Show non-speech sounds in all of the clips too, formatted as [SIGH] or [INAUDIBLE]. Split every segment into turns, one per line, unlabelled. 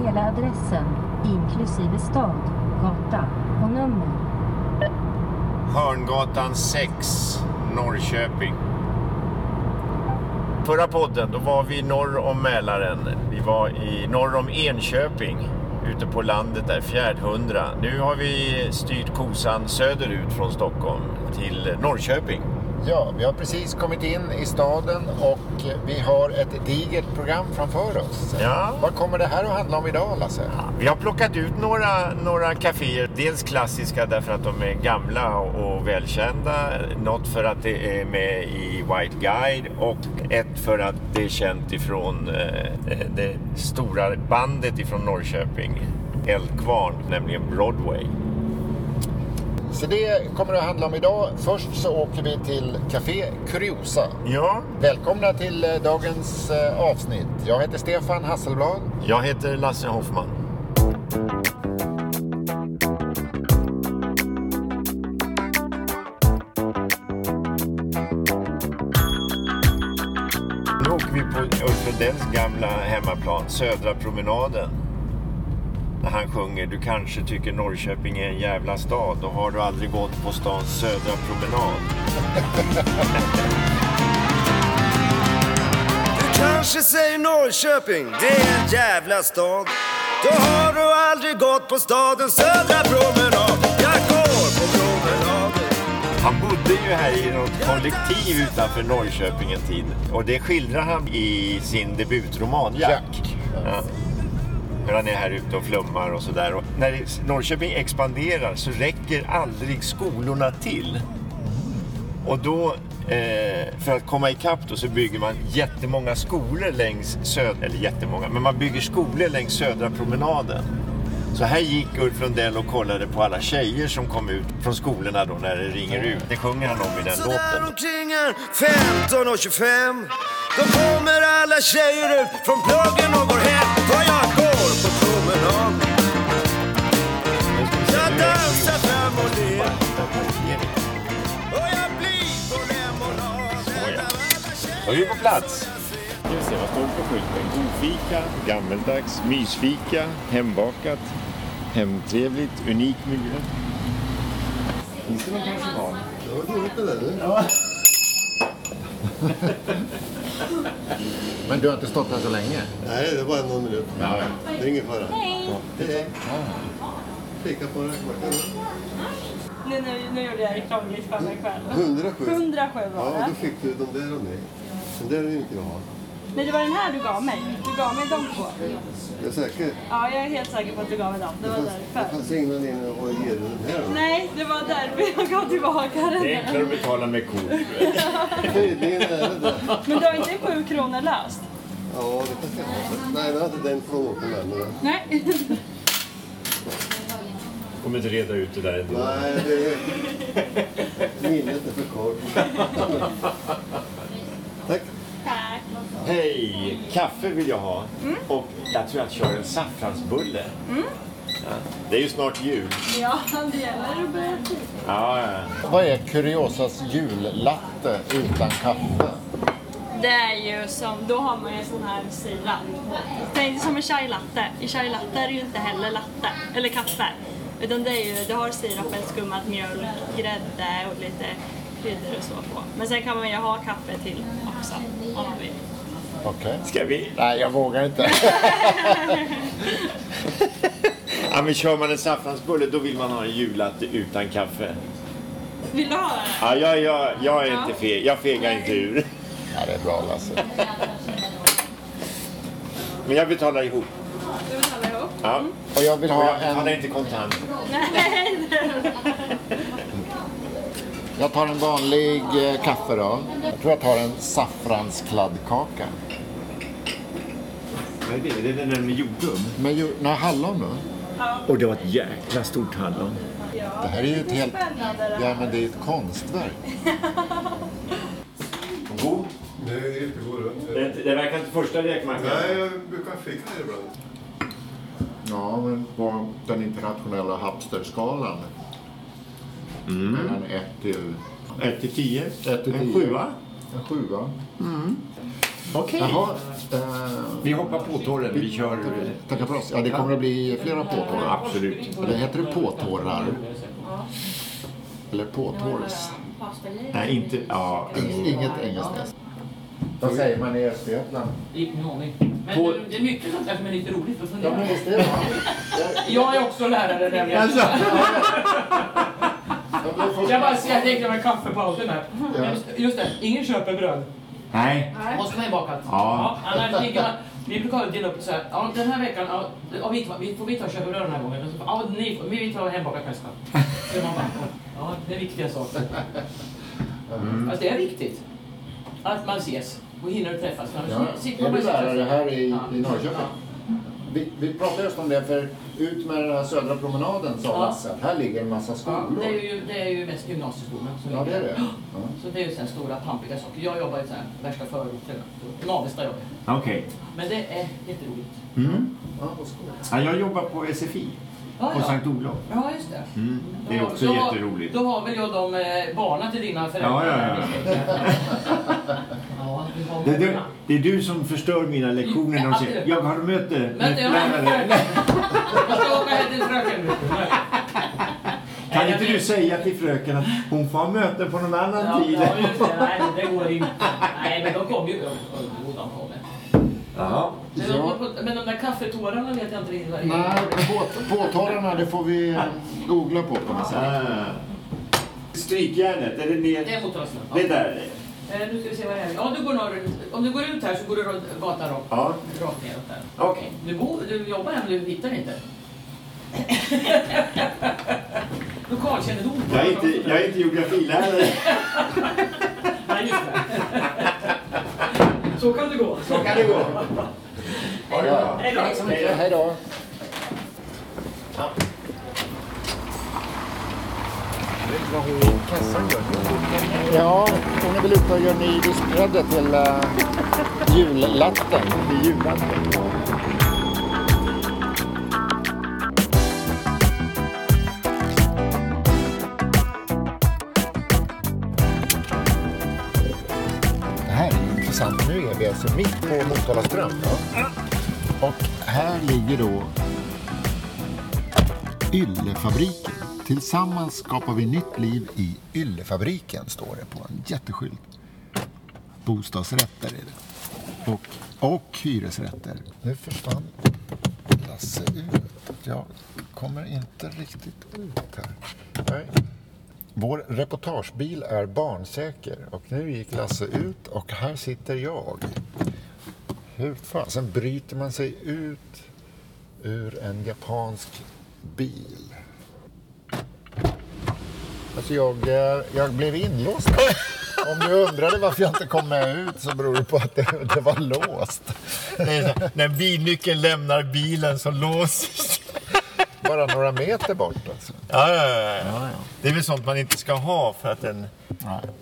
adressen, inklusive stad, gata och nummer.
Hörngatan 6, Norrköping. Förra podden, då var vi norr om Mälaren. Vi var i norr om Enköping, ute på landet där, Fjärdhundra. Nu har vi styrt kosan söderut från Stockholm till Norrköping.
Ja, vi har precis kommit in i staden och vi har ett digert program framför oss.
Ja.
Vad kommer det här att handla om idag, Lasse?
Vi har plockat ut några, några kaféer. Dels klassiska därför att de är gamla och välkända. Något för att det är med i White Guide och ett för att det är känt ifrån eh, det stora bandet ifrån Norrköping. Eldkvarn, nämligen Broadway.
Så det kommer det att handla om idag. Först så åker vi till Café Curiosa.
Ja,
Välkomna till eh, dagens eh, avsnitt. Jag heter Stefan Hasselblad.
jag heter Lasse Hoffman. Nu åker vi på Ulf Lundells gamla hemmaplan, Södra promenaden. När han sjunger Du kanske tycker Norrköping är en jävla stad, då har du aldrig gått på stans södra promenad.
Du kanske säger Norrköping, det är en jävla stad. Då har du aldrig gått på stadens södra promenad. Jag går på promenaden.
Han bodde ju här i något kollektiv utanför Norrköping en tid. Och det skildrar han i sin debutroman Jack.
Jack.
Ja. När han är här ute och flummar och sådär. Och När Norrköping expanderar så räcker aldrig skolorna till. Och då, eh, för att komma ikapp då, så bygger man jättemånga skolor längs södra, eller jättemånga, men man bygger skolor längs södra promenaden. Så här gick Ulf Lundell och kollade på alla tjejer som kom ut från skolorna då när det ringer ut. Det sjunger han om i den
Så där
låten.
omkring är 15 och 25. Då kommer alla tjejer ut från pluggen och går hem. För jag går på promenaden.
Nu ska vi se,
Jag
nu är det
dansar fram och ner.
Marknadsmarkering.
Och jag blir på lemonad.
Såja.
Alla tjejer
Då är vi på plats. Ska vi se, vad står på skylten? Godfika, gammeldags, mysfika, hembakat, hemtrevligt, unik miljö. Finns det någon personal?
Men du har inte stått här så länge?
Nej, det var bara någon minut. Det är ingen fara. Hej! Hej! Kika på det.
Nu, nu, nu gjorde jag reklamgrej för mig själv.
107.
107 var
Ja,
det.
då fick du de där av mig. Den där vill inte jag ha.
Nej, det var den här du gav mig. Du gav mig de två.
Jag är säker.
Ja, jag är helt säker på att du gav mig dem. Det var
Det
därför.
fanns ingen anledning att ge dig den här.
Nej, det var därför jag gav tillbaka
Det är
den.
enklare att betala med kort.
Tydligen är det det.
Men du har inte sju kronor löst?
Ja, det kanske jag har. Nej, men inte den plånboken där. men-
[LAUGHS]
Nej.
Kommer inte reda ut det där ändå.
Nej, det är... Minnet är för kort. Tack.
Tack.
Hej! Kaffe vill jag ha.
Mm.
Och jag tror jag kör en saffransbulle. Ja, det är ju snart jul.
Mm. Ja, det gäller att börja tidigt.
Ja, ja.
Vad är Curiosas jullatte utan kaffe?
Det är ju som, då har man ju en sån här sirap. Tänk dig som en chai latte. I chai latte är det ju inte heller latte, eller kaffe. Utan det är ju, du har sirapen, skummat mjölk, grädde och lite kryddor och så på. Men sen kan man ju ha kaffe till också om man vill.
Okej.
Ska vi?
Nej, jag vågar inte.
[LAUGHS] Ja, men kör man en saffransbulle då vill man ha en jullatte utan kaffe.
Vill du ha det?
Ja, ja, ja, jag är inte feg. Jag fegar inte ur.
Ja, det är bra Lasse.
Men jag betalar ihop.
Du betalar ihop?
Ja.
Mm.
Och jag vill
Och
ha
jag betalar
en...
inte kontant.
Nej!
Jag tar en vanlig eh, kaffe då. Jag tror jag tar en saffranskladdkaka.
Vad är det? Det är den där med jordgubb.
Men ju... Nej, hallon då?
Och det var ett jäkla stort hallon.
Det här är ju ett helt...
Spännande det
Ja,
här.
men det är ett konstverk.
God.
Det är jättegod
Det, det verkar inte första lekmackan.
jag brukar fika det ibland.
Ja, men på den internationella hapsterskalan. Mellan 1 till...
1 Mm. till 10.
Ett till
En
tio.
sjua.
En sjua.
Okej.
Jaha, Eh,
Vi hoppar på torren. Vi kör...
Tackar för oss. Ja, det kommer att bli flera påtårar.
Absolut.
Eller heter det påtårar?
Mm.
Eller påtårs?
Nej, inte... Ja.
Inget engelskt S. Vad säger man i Östergötland?
Ingen aning. Men
På-
det- det är mycket sånt där som är lite roligt att fundera
Ja, men
på.
visst är det va?
[LAUGHS] Jag är också lärare nämligen.
Alltså,
Ja, men
Jag
först-
bara jag tänkte med kaffepausen här.
Ja.
Just, just det, ingen köper bröd.
nej.
Måste man ju baka. allt.
Ja.
annars ligger man, vi brukar dela upp så här. Ja, den här veckan, ja, ja, vi, tar- vi, får vi ta och köpa bröd den här gången? Och så, Ja, ni, får- vi vill ta hembakat nästa. Så man bara, ja, det är viktiga saker.
Mm.
Alltså det är viktigt. Att man ses och hinner träffas.
Ja.
Annars sitter
Är
man
du
bara och sitter-
lärare här i, i
Ja.
Norrköping? Vi, vi pratade just om det, för ut med den här södra promenaden sa
Ja.
Lasse att här ligger en massa
Ja,
skolor.
det, är ju, det är ju mest gymnasieskolan. som
Ja, det är det. Ja.
Så det är ju så här stora pampiga saker. Jag jobbar i så här värsta förorterna. Navesta jobbar jag.
Okej.
Men det är jätteroligt.
Mm.
Ja, vad skoj.
Ja, jag jobbar på SFI.
Ja,
På
ja.
Sankt Olof.
Ja, just det.
Mm. Det är
Ja,
också
då-
jätteroligt.
Då har väl jag de eh, barnen till dina föräldrar.
Ja, ja,
[LAUGHS] Ja, vi har
Det är, du, det är du som förstör mina lektioner när de säger jag har möte med
Men det har
lärare.
Jag ska åka hem till fröken nu.
Kan inte du säga till fröken att hon får ha möte på någon
Ja,
annan tid?
ja, just det. Nej, det går inte. Nej, men de kommer ju. Jo, de kommer.
Jaha.
Men de- Men de där kaffetårarna vet jag inte riktigt vad det
Nej, båt- båttorrarna, det får vi eh, googla på på något sätt.
Ah. Strykjärnet, är det
Det är
ner?
mot oss nu.
Det där är det.
Eh, Nu ska vi se vad det är. Ja, du går norrut. Om du går ut här så går du rå- gatan rakt,
Ja.
rakt neråt där.
Okej.
Du, bor, du jobbar här men du hittar
[LAUGHS]
inte. Lokalkännedom.
Jag, är inte, jag är inte geografilärare.
[LAUGHS] Nej, just det. så kan det gå.
Så kan det gå. Ja, ja.
Hej då.
Hej då. Ja, hon är väl ute och gör ny diskbrädde till eh, jullatten. Till jullatten. Det här är intressant. Nu är vi alltså mitt på Motala ström. Och här ligger då Yllefabriken. Tillsammans skapar vi nytt liv i Yllefabriken, står det på en jätteskylt. Bostadsrätter är det. Och, och hyresrätter. Nu försvann Lasse ut. Jag kommer inte riktigt ut här. Nej. Vår reportagebil är barnsäker och nu gick Lasse ut och här sitter jag. Hur fasen bryter man sig ut ur en japansk bil? Alltså jag, eh, jag blev inlåst. Om du undrade varför jag inte kom med ut så beror det på att det, det var låst.
När bilnyckeln lämnar bilen så låses
Bara några meter bort alltså.
ja, ja, ja, ja. Det är väl sånt man inte ska ha för att den,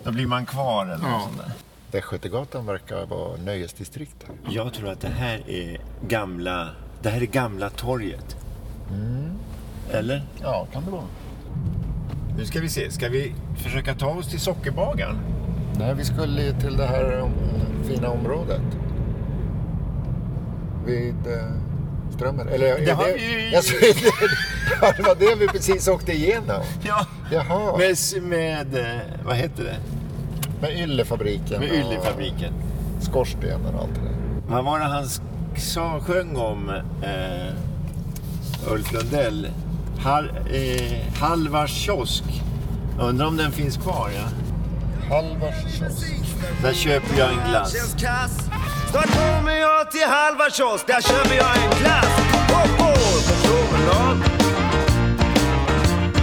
då blir man kvar eller något sånt där.
Västgötagatan verkar vara nöjesdistrikt här.
Jag tror att det här är gamla, det här är gamla torget. Mm. Eller?
Ja, kan det vara.
Nu ska vi se, ska vi försöka ta oss till sockerbagaren?
Nej, vi skulle ju till det här om, fina området. Vid eh, Strömmen. Eller är
Det har vi ju-
[LAUGHS] Alltså, det- ja, det var det vi precis åkte igenom.
Ja.
Jaha. Med,
Med, s- med eh, vad heter det?
yllefabriken.
Med
och
Yllefabriken.
Skorstenen och allt det där.
Vad var det han sk- sa, sjöng om, eh, Ulf Lundell? Har, eh, Halvars kiosk. Undrar om den finns kvar, ja.
Halvars kiosk.
Där köper jag en glass.
Känns kass. Snart kommer jag till halva kiosk, där köper jag en glass. Och går på promenad.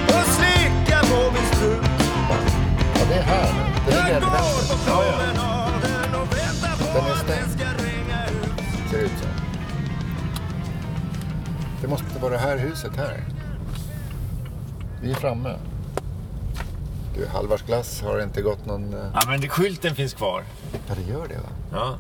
Och slickar på min strut.
Ja, det är här nu. Det
Jag
ligger
går
där.
på promenaden och väntar på
Den är
att den
stängd.
ska ringa ut.
Ser det ut som. Det måste vara det här huset här. Vi är framme. Du, Halvars glass har inte gått någon... eh,
Ja, men det- skylten finns kvar.
Ja, det gör det va?
Ja.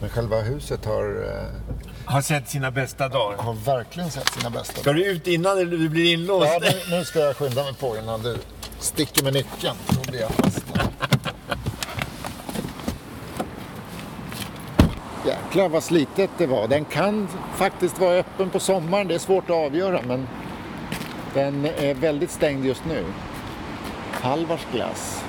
Men själva huset har, eh,
Har sett sina bästa dagar.
har verkligen sett sina bästa
Ska du ut innan eller du blir inlåst?
Ja, nu, nu ska jag skynda mig på innan du sticker med nyckeln. Då blir jag fast. Jäklar vad slitet det var. Den kan faktiskt vara öppen på sommaren. Det är svårt att avgöra men den är väldigt stängd just nu. Halvars glass.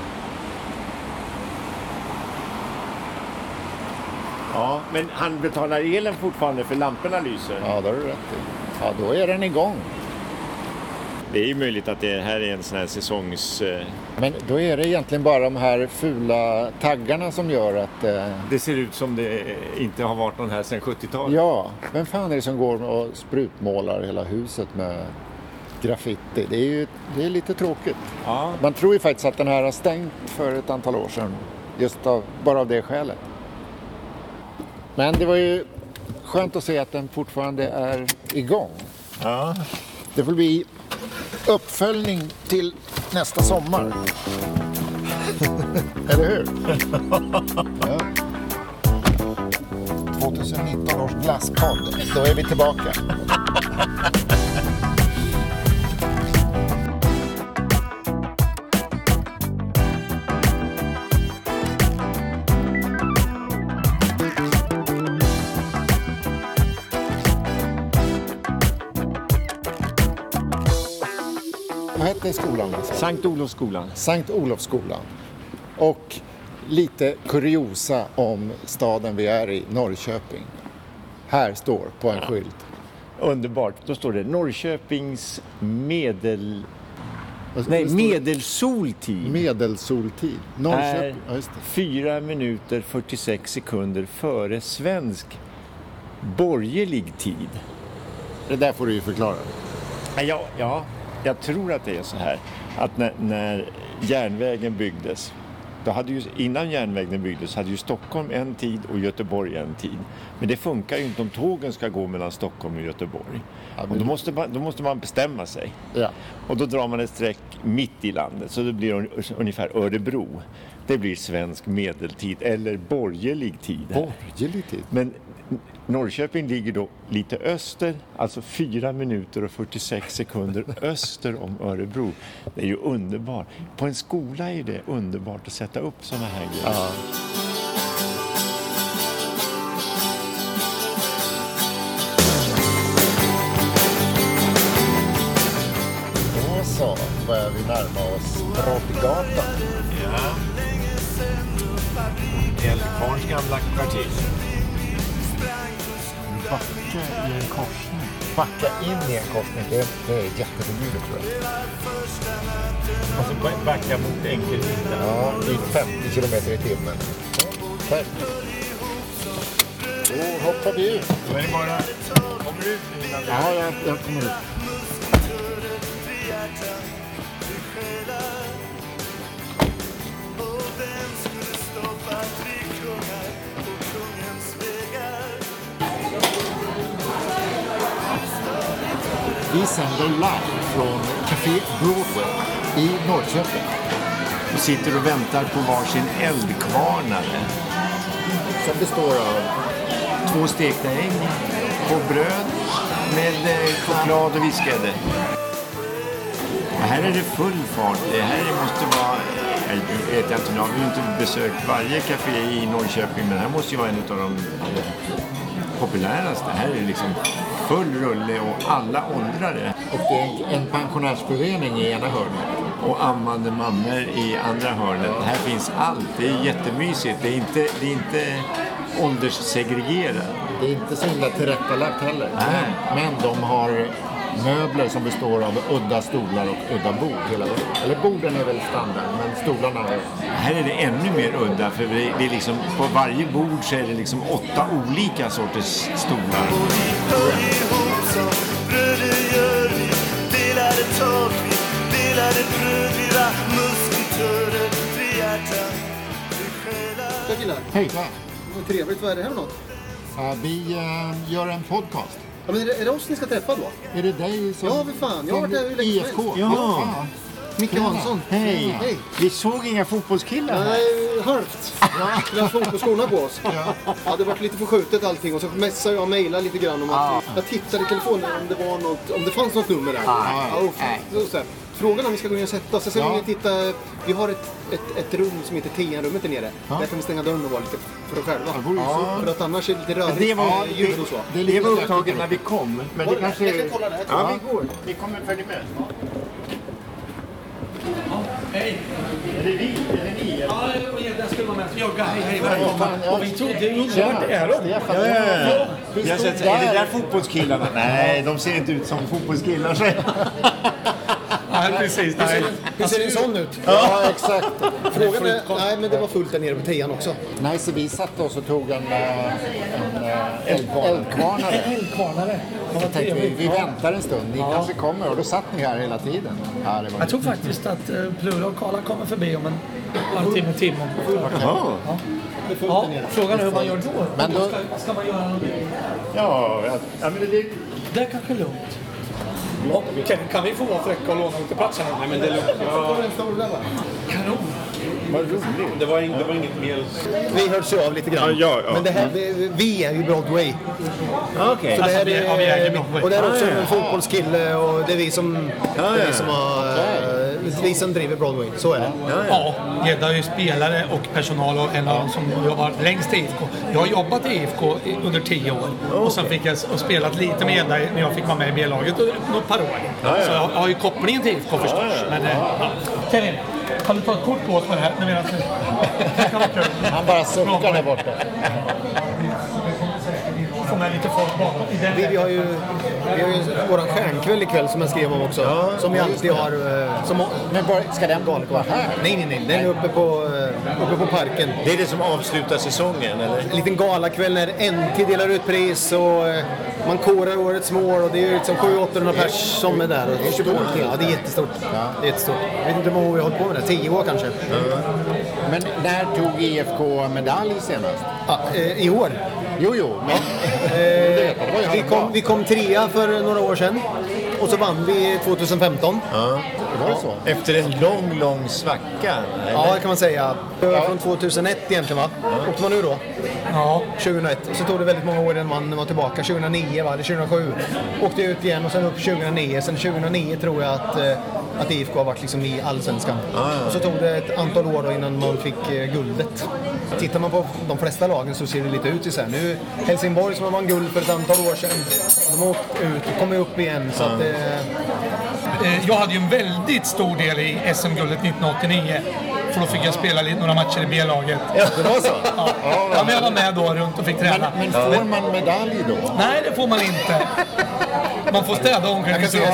Ja, men han betalar elen fortfarande för lamporna lyser.
Ja, det har du rätt i. Ja, då är den igång.
Det är ju möjligt att det här är en sån här säsongs... eh,
Men då är det egentligen bara de här fula taggarna som gör att... Eh,
Det ser ut som det eh, inte har varit någon här sedan 70-talet.
ja, vem fan är det som går och sprutmålar hela huset med graffiti? Det är ju det är lite tråkigt.
Ja.
Man tror ju faktiskt att den här har stängt för ett antal år sedan. Just av, bara av det skälet. Men det var ju skönt att se att den fortfarande är igång.
Ja.
Det får bli uppföljning till
[LAUGHS]
nästa sommar. Eller hur? ja. 2019 års glasspodd. Då är vi tillbaka. Vad hette skolan? Lasse?
Sankt Olofsskolan.
Sankt Olofsskolan. Och lite kuriosa om staden vi är i, Norrköping. Här står på en skylt.
Underbart. Då står det Norrköpings medel...
Och
Nej,
det står
medelsoltid
Medelsoltid.
är
Norrköping. Ja, just det.
4 minuter 46 sekunder före svensk borgerlig tid.
det där får du ju förklara.
Men Ja, ja, jag tror att det är så här att när, när järnvägen byggdes, då hade ju, innan järnvägen byggdes hade ju Stockholm en tid och Göteborg en tid. Men det funkar ju inte om tågen ska gå mellan Stockholm och Göteborg.
men-
Och då, måste man, då måste man bestämma sig.
Ja.
Och då drar man ett streck mitt i landet så det blir un- ungefär Örebro. Det blir svensk medeltid eller borgerlig tid. här.
Borgerlig tid.
Men Norrköping ligger då lite öster, alltså 4 minuter och 46 sekunder öster om Örebro. Det är ju underbart. På en skola är det underbart att sätta upp sådana här grejer.
Då så börjar vi närma oss Drottninggatan.
Älvkarns gamla kvarter.
Backa i en korsning. Backa in i en korsning. Det, det är jätteförbjudet tror jag.
Och så Alltså, backa mot Enkelrikta.
Ja, i 50 kilometer i timmen. Tack. Då hoppar vi ut.
Då är det bara... Kommer du ut nu innan
Ja, jag, jag kommer ut. Vi sänder live från Café Broadway i Norrköping.
Du sitter och väntar på varsin eldkvarnare.
Som består av...
Två stekta ägg på bröd med eh, choklad och viskade. Här är det full fart. Det här måste vara... Jag vet jag inte, nu har vi ju inte besökt varje café i Norrköping men här måste ju vara en av de eh, populäraste. Här är det liksom full rulle och alla åldrare.
Och det är en- en pensionärsförening i ena hörnet.
Och ammande mammor i andra hörnet. Här finns allt. Det är jättemysigt. Det är inte, det är inte ålderssegregerat.
Det är inte så himla tillrättalagt heller.
Nej.
Men, men de har möbler som består av udda stolar och udda bord hela vägen. Eller borden är väl standard, men stolarna är...
Här är det ännu mer udda för det det är liksom, på varje bord så är det liksom åtta olika sorters stolar.
ihop som bröder gör vi Delade tårta, delade bröd, vi var musketörer Fri hjärtan, fri själar
Tja killar,
Hej!
vad trevligt. Vad är det här för något?
Ja, vi eh, gör en podcast.
Ja, men är, det, är det oss ni ska träffa då?
Är det dig som...
Ja, för fan. Jag har varit där hur
E-
länge som
IFK.
helst.
Ja.
Ja.
Micke Hansson.
Hej!
Hej!
Vi såg inga fotbollskillar här.
Nej, halvt. Vi har fotbollsskorna på oss. Ja. det vart lite förskjutet allting och så messade jag och mejlade lite grann om att jag tittade i telefonen om det var något, om det fanns något nummer där. Ja, och, och så här. Frågan är om vi ska gå ner och sätta oss. Sen ska
Ja.
vi titta. Vi har ett, ett, ett rum som heter TN-rummet där nere. Där kan vi stänga dörren och vara lite för oss själva.
Ja.
För att annars är det lite rörigt
Det var,
med ljud och så.
det, det var upptaget när vi kom. Men det kanske...
Jag ska kolla det här.
Ja, vi går. Ni kommer följa med.
Hej!
Är det vi? Är det ni?
Ja, jag skulle vara med och jogga. Hej, hej, välkomna. Och vi trodde ju underbart det
Ja, ja, ja. Jag har sett, är det där fotbollskillarna? Nej, de ser inte ut som fotbollskillar. säger jag.
Ja, precis. Nej.
Hur ser en sån ut?
Ja, exakt.
Frågan är, nej men det var fullt där nere på tian också.
Nej, så vi satte oss och tog en, eh, en eh, eldkvarnare.
Eldkvarnare.
Så tänkte vi, vi väntar en stund, ni kanske kommer. Och då satt ni här hela tiden. Ja, det var
Jag tror faktiskt att eh, Plura och Karla kommer förbi om en halvtimme, timme. Ja, frågan är hur man gör då.
Men då-
Ska, ska man göra något?
Ja, ja, ja, men det,
Det är kanske lugnt. Okej, kan vi få vara fräcka och låna lite plats här? Nej, men det är lugnt. Kanon.
vad roligt.
Det var, in, det var inget mer...
Vi hörs ju av lite grann.
Ja, ja, ja.
Men det här, vi, vi är ju Broadway.
Ah, Okej.
Så det här
Alltså, vi är- ja, vi äger Broadway.
och det är också
Ah, ja. Ah,
en fotbollskille och det är vi som, det är vi som, har, eh, vi som driver Broadway. Så är det.
Ja, Gedda är ju spelare och personal och en av dem som jobbar längst i IFK. Jag har jobbat i IFK i- under tio år och sen fick jag s- och spelat lite med Gedda i- när jag fick vara med i B-laget under något par år. Så jag har ju kopplingen till IFK förstås. Men, eh, ja. Kevin, kan du ta ett kort på oss på det här? Nu menar jag kan vara kul.
Han bara suckar där borta.
Få med lite folk bakom. I den
Vi, vi har ju, vi har ju våran stjärnkväll ikväll som jag skrev om också. som vi alltid har. eh, Som,
Men var, ska den galet vara här?
nej, nej, nej. Den är uppe på, eh, uppe på parken.
Det är det som avslutar säsongen, eller?
En liten galakväll när NT delar ut pris och eh, man korar årets mål och det är liksom 700-800 pers som är där. Och ja, det är jättestort. Det är jättestort. Jag vet inte hur många år vi har hållit på med det. Tio år kanske.
Men när tog IFK medalj senast?
Ja, eh, I år. Eh,
Jo, jo, men...
Vi kom, vi kom trea för några år sedan och så vann vi 2015.
Var det så?
Efter en lång, lång svacka? eller?
Ja, det kan man säga. Det var Från 2001 egentligen va? Åkte man ur då?
Ja.
2001. Och så tog det väldigt många år innan man var tillbaka. 2009 va? Eller 2007. Åkte ut igen och sen upp 2009. Sen 2009 tror jag att, eh, att IFK har varit liksom i Allsvenskan. Och så tog det ett antal år då innan man fick eh, guldet. Tittar man på de flesta lagen så ser det lite ut så här. Nu Helsingborg som vann guld för ett antal år sedan. De har åkt ut och kommit upp igen. Så att, eh,
Eh, Jag hade ju en väldigt stor del i SM-guldet 1989. För då fick jag spela lite, några matcher i B-laget.
Ja, det var så?
Ja. Ja, men jag var med då runt och fick träna.
Men får man medalj då?
Nej, det får man inte. Man får städa omklädningsrummet.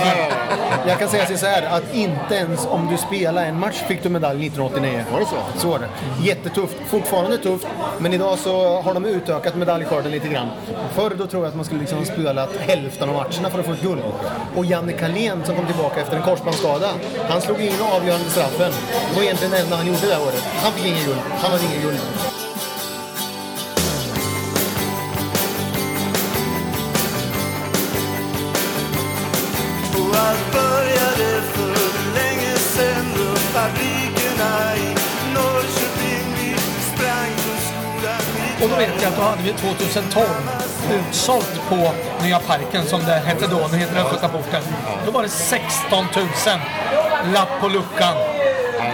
Jag kan säga så här att inte ens om du spelar en match fick du medalj 1989.
Var det så?
Så var det. Jättetufft. Fortfarande tufft. Men idag så har de utökat medaljskörden lite grann. Förr då tror jag att man skulle liksom ha spelat hälften av matcherna för att få ett guld. Och Janne Kalén som kom tillbaka efter en korsbandsskada. Han slog in avgörande straffen. Det var egentligen det enda han gjorde det här året. Han fick ingen guld. Han hade ingen guld.
Och allt började för länge sen då fabrikerna i Norrköping vi sprang från skolan i
Och då vet jag att då hade vi 2012 utsålt på Nya Parken som det hette då. Nu heter det Östgötaporten. Då var det 16 000 lapp på luckan.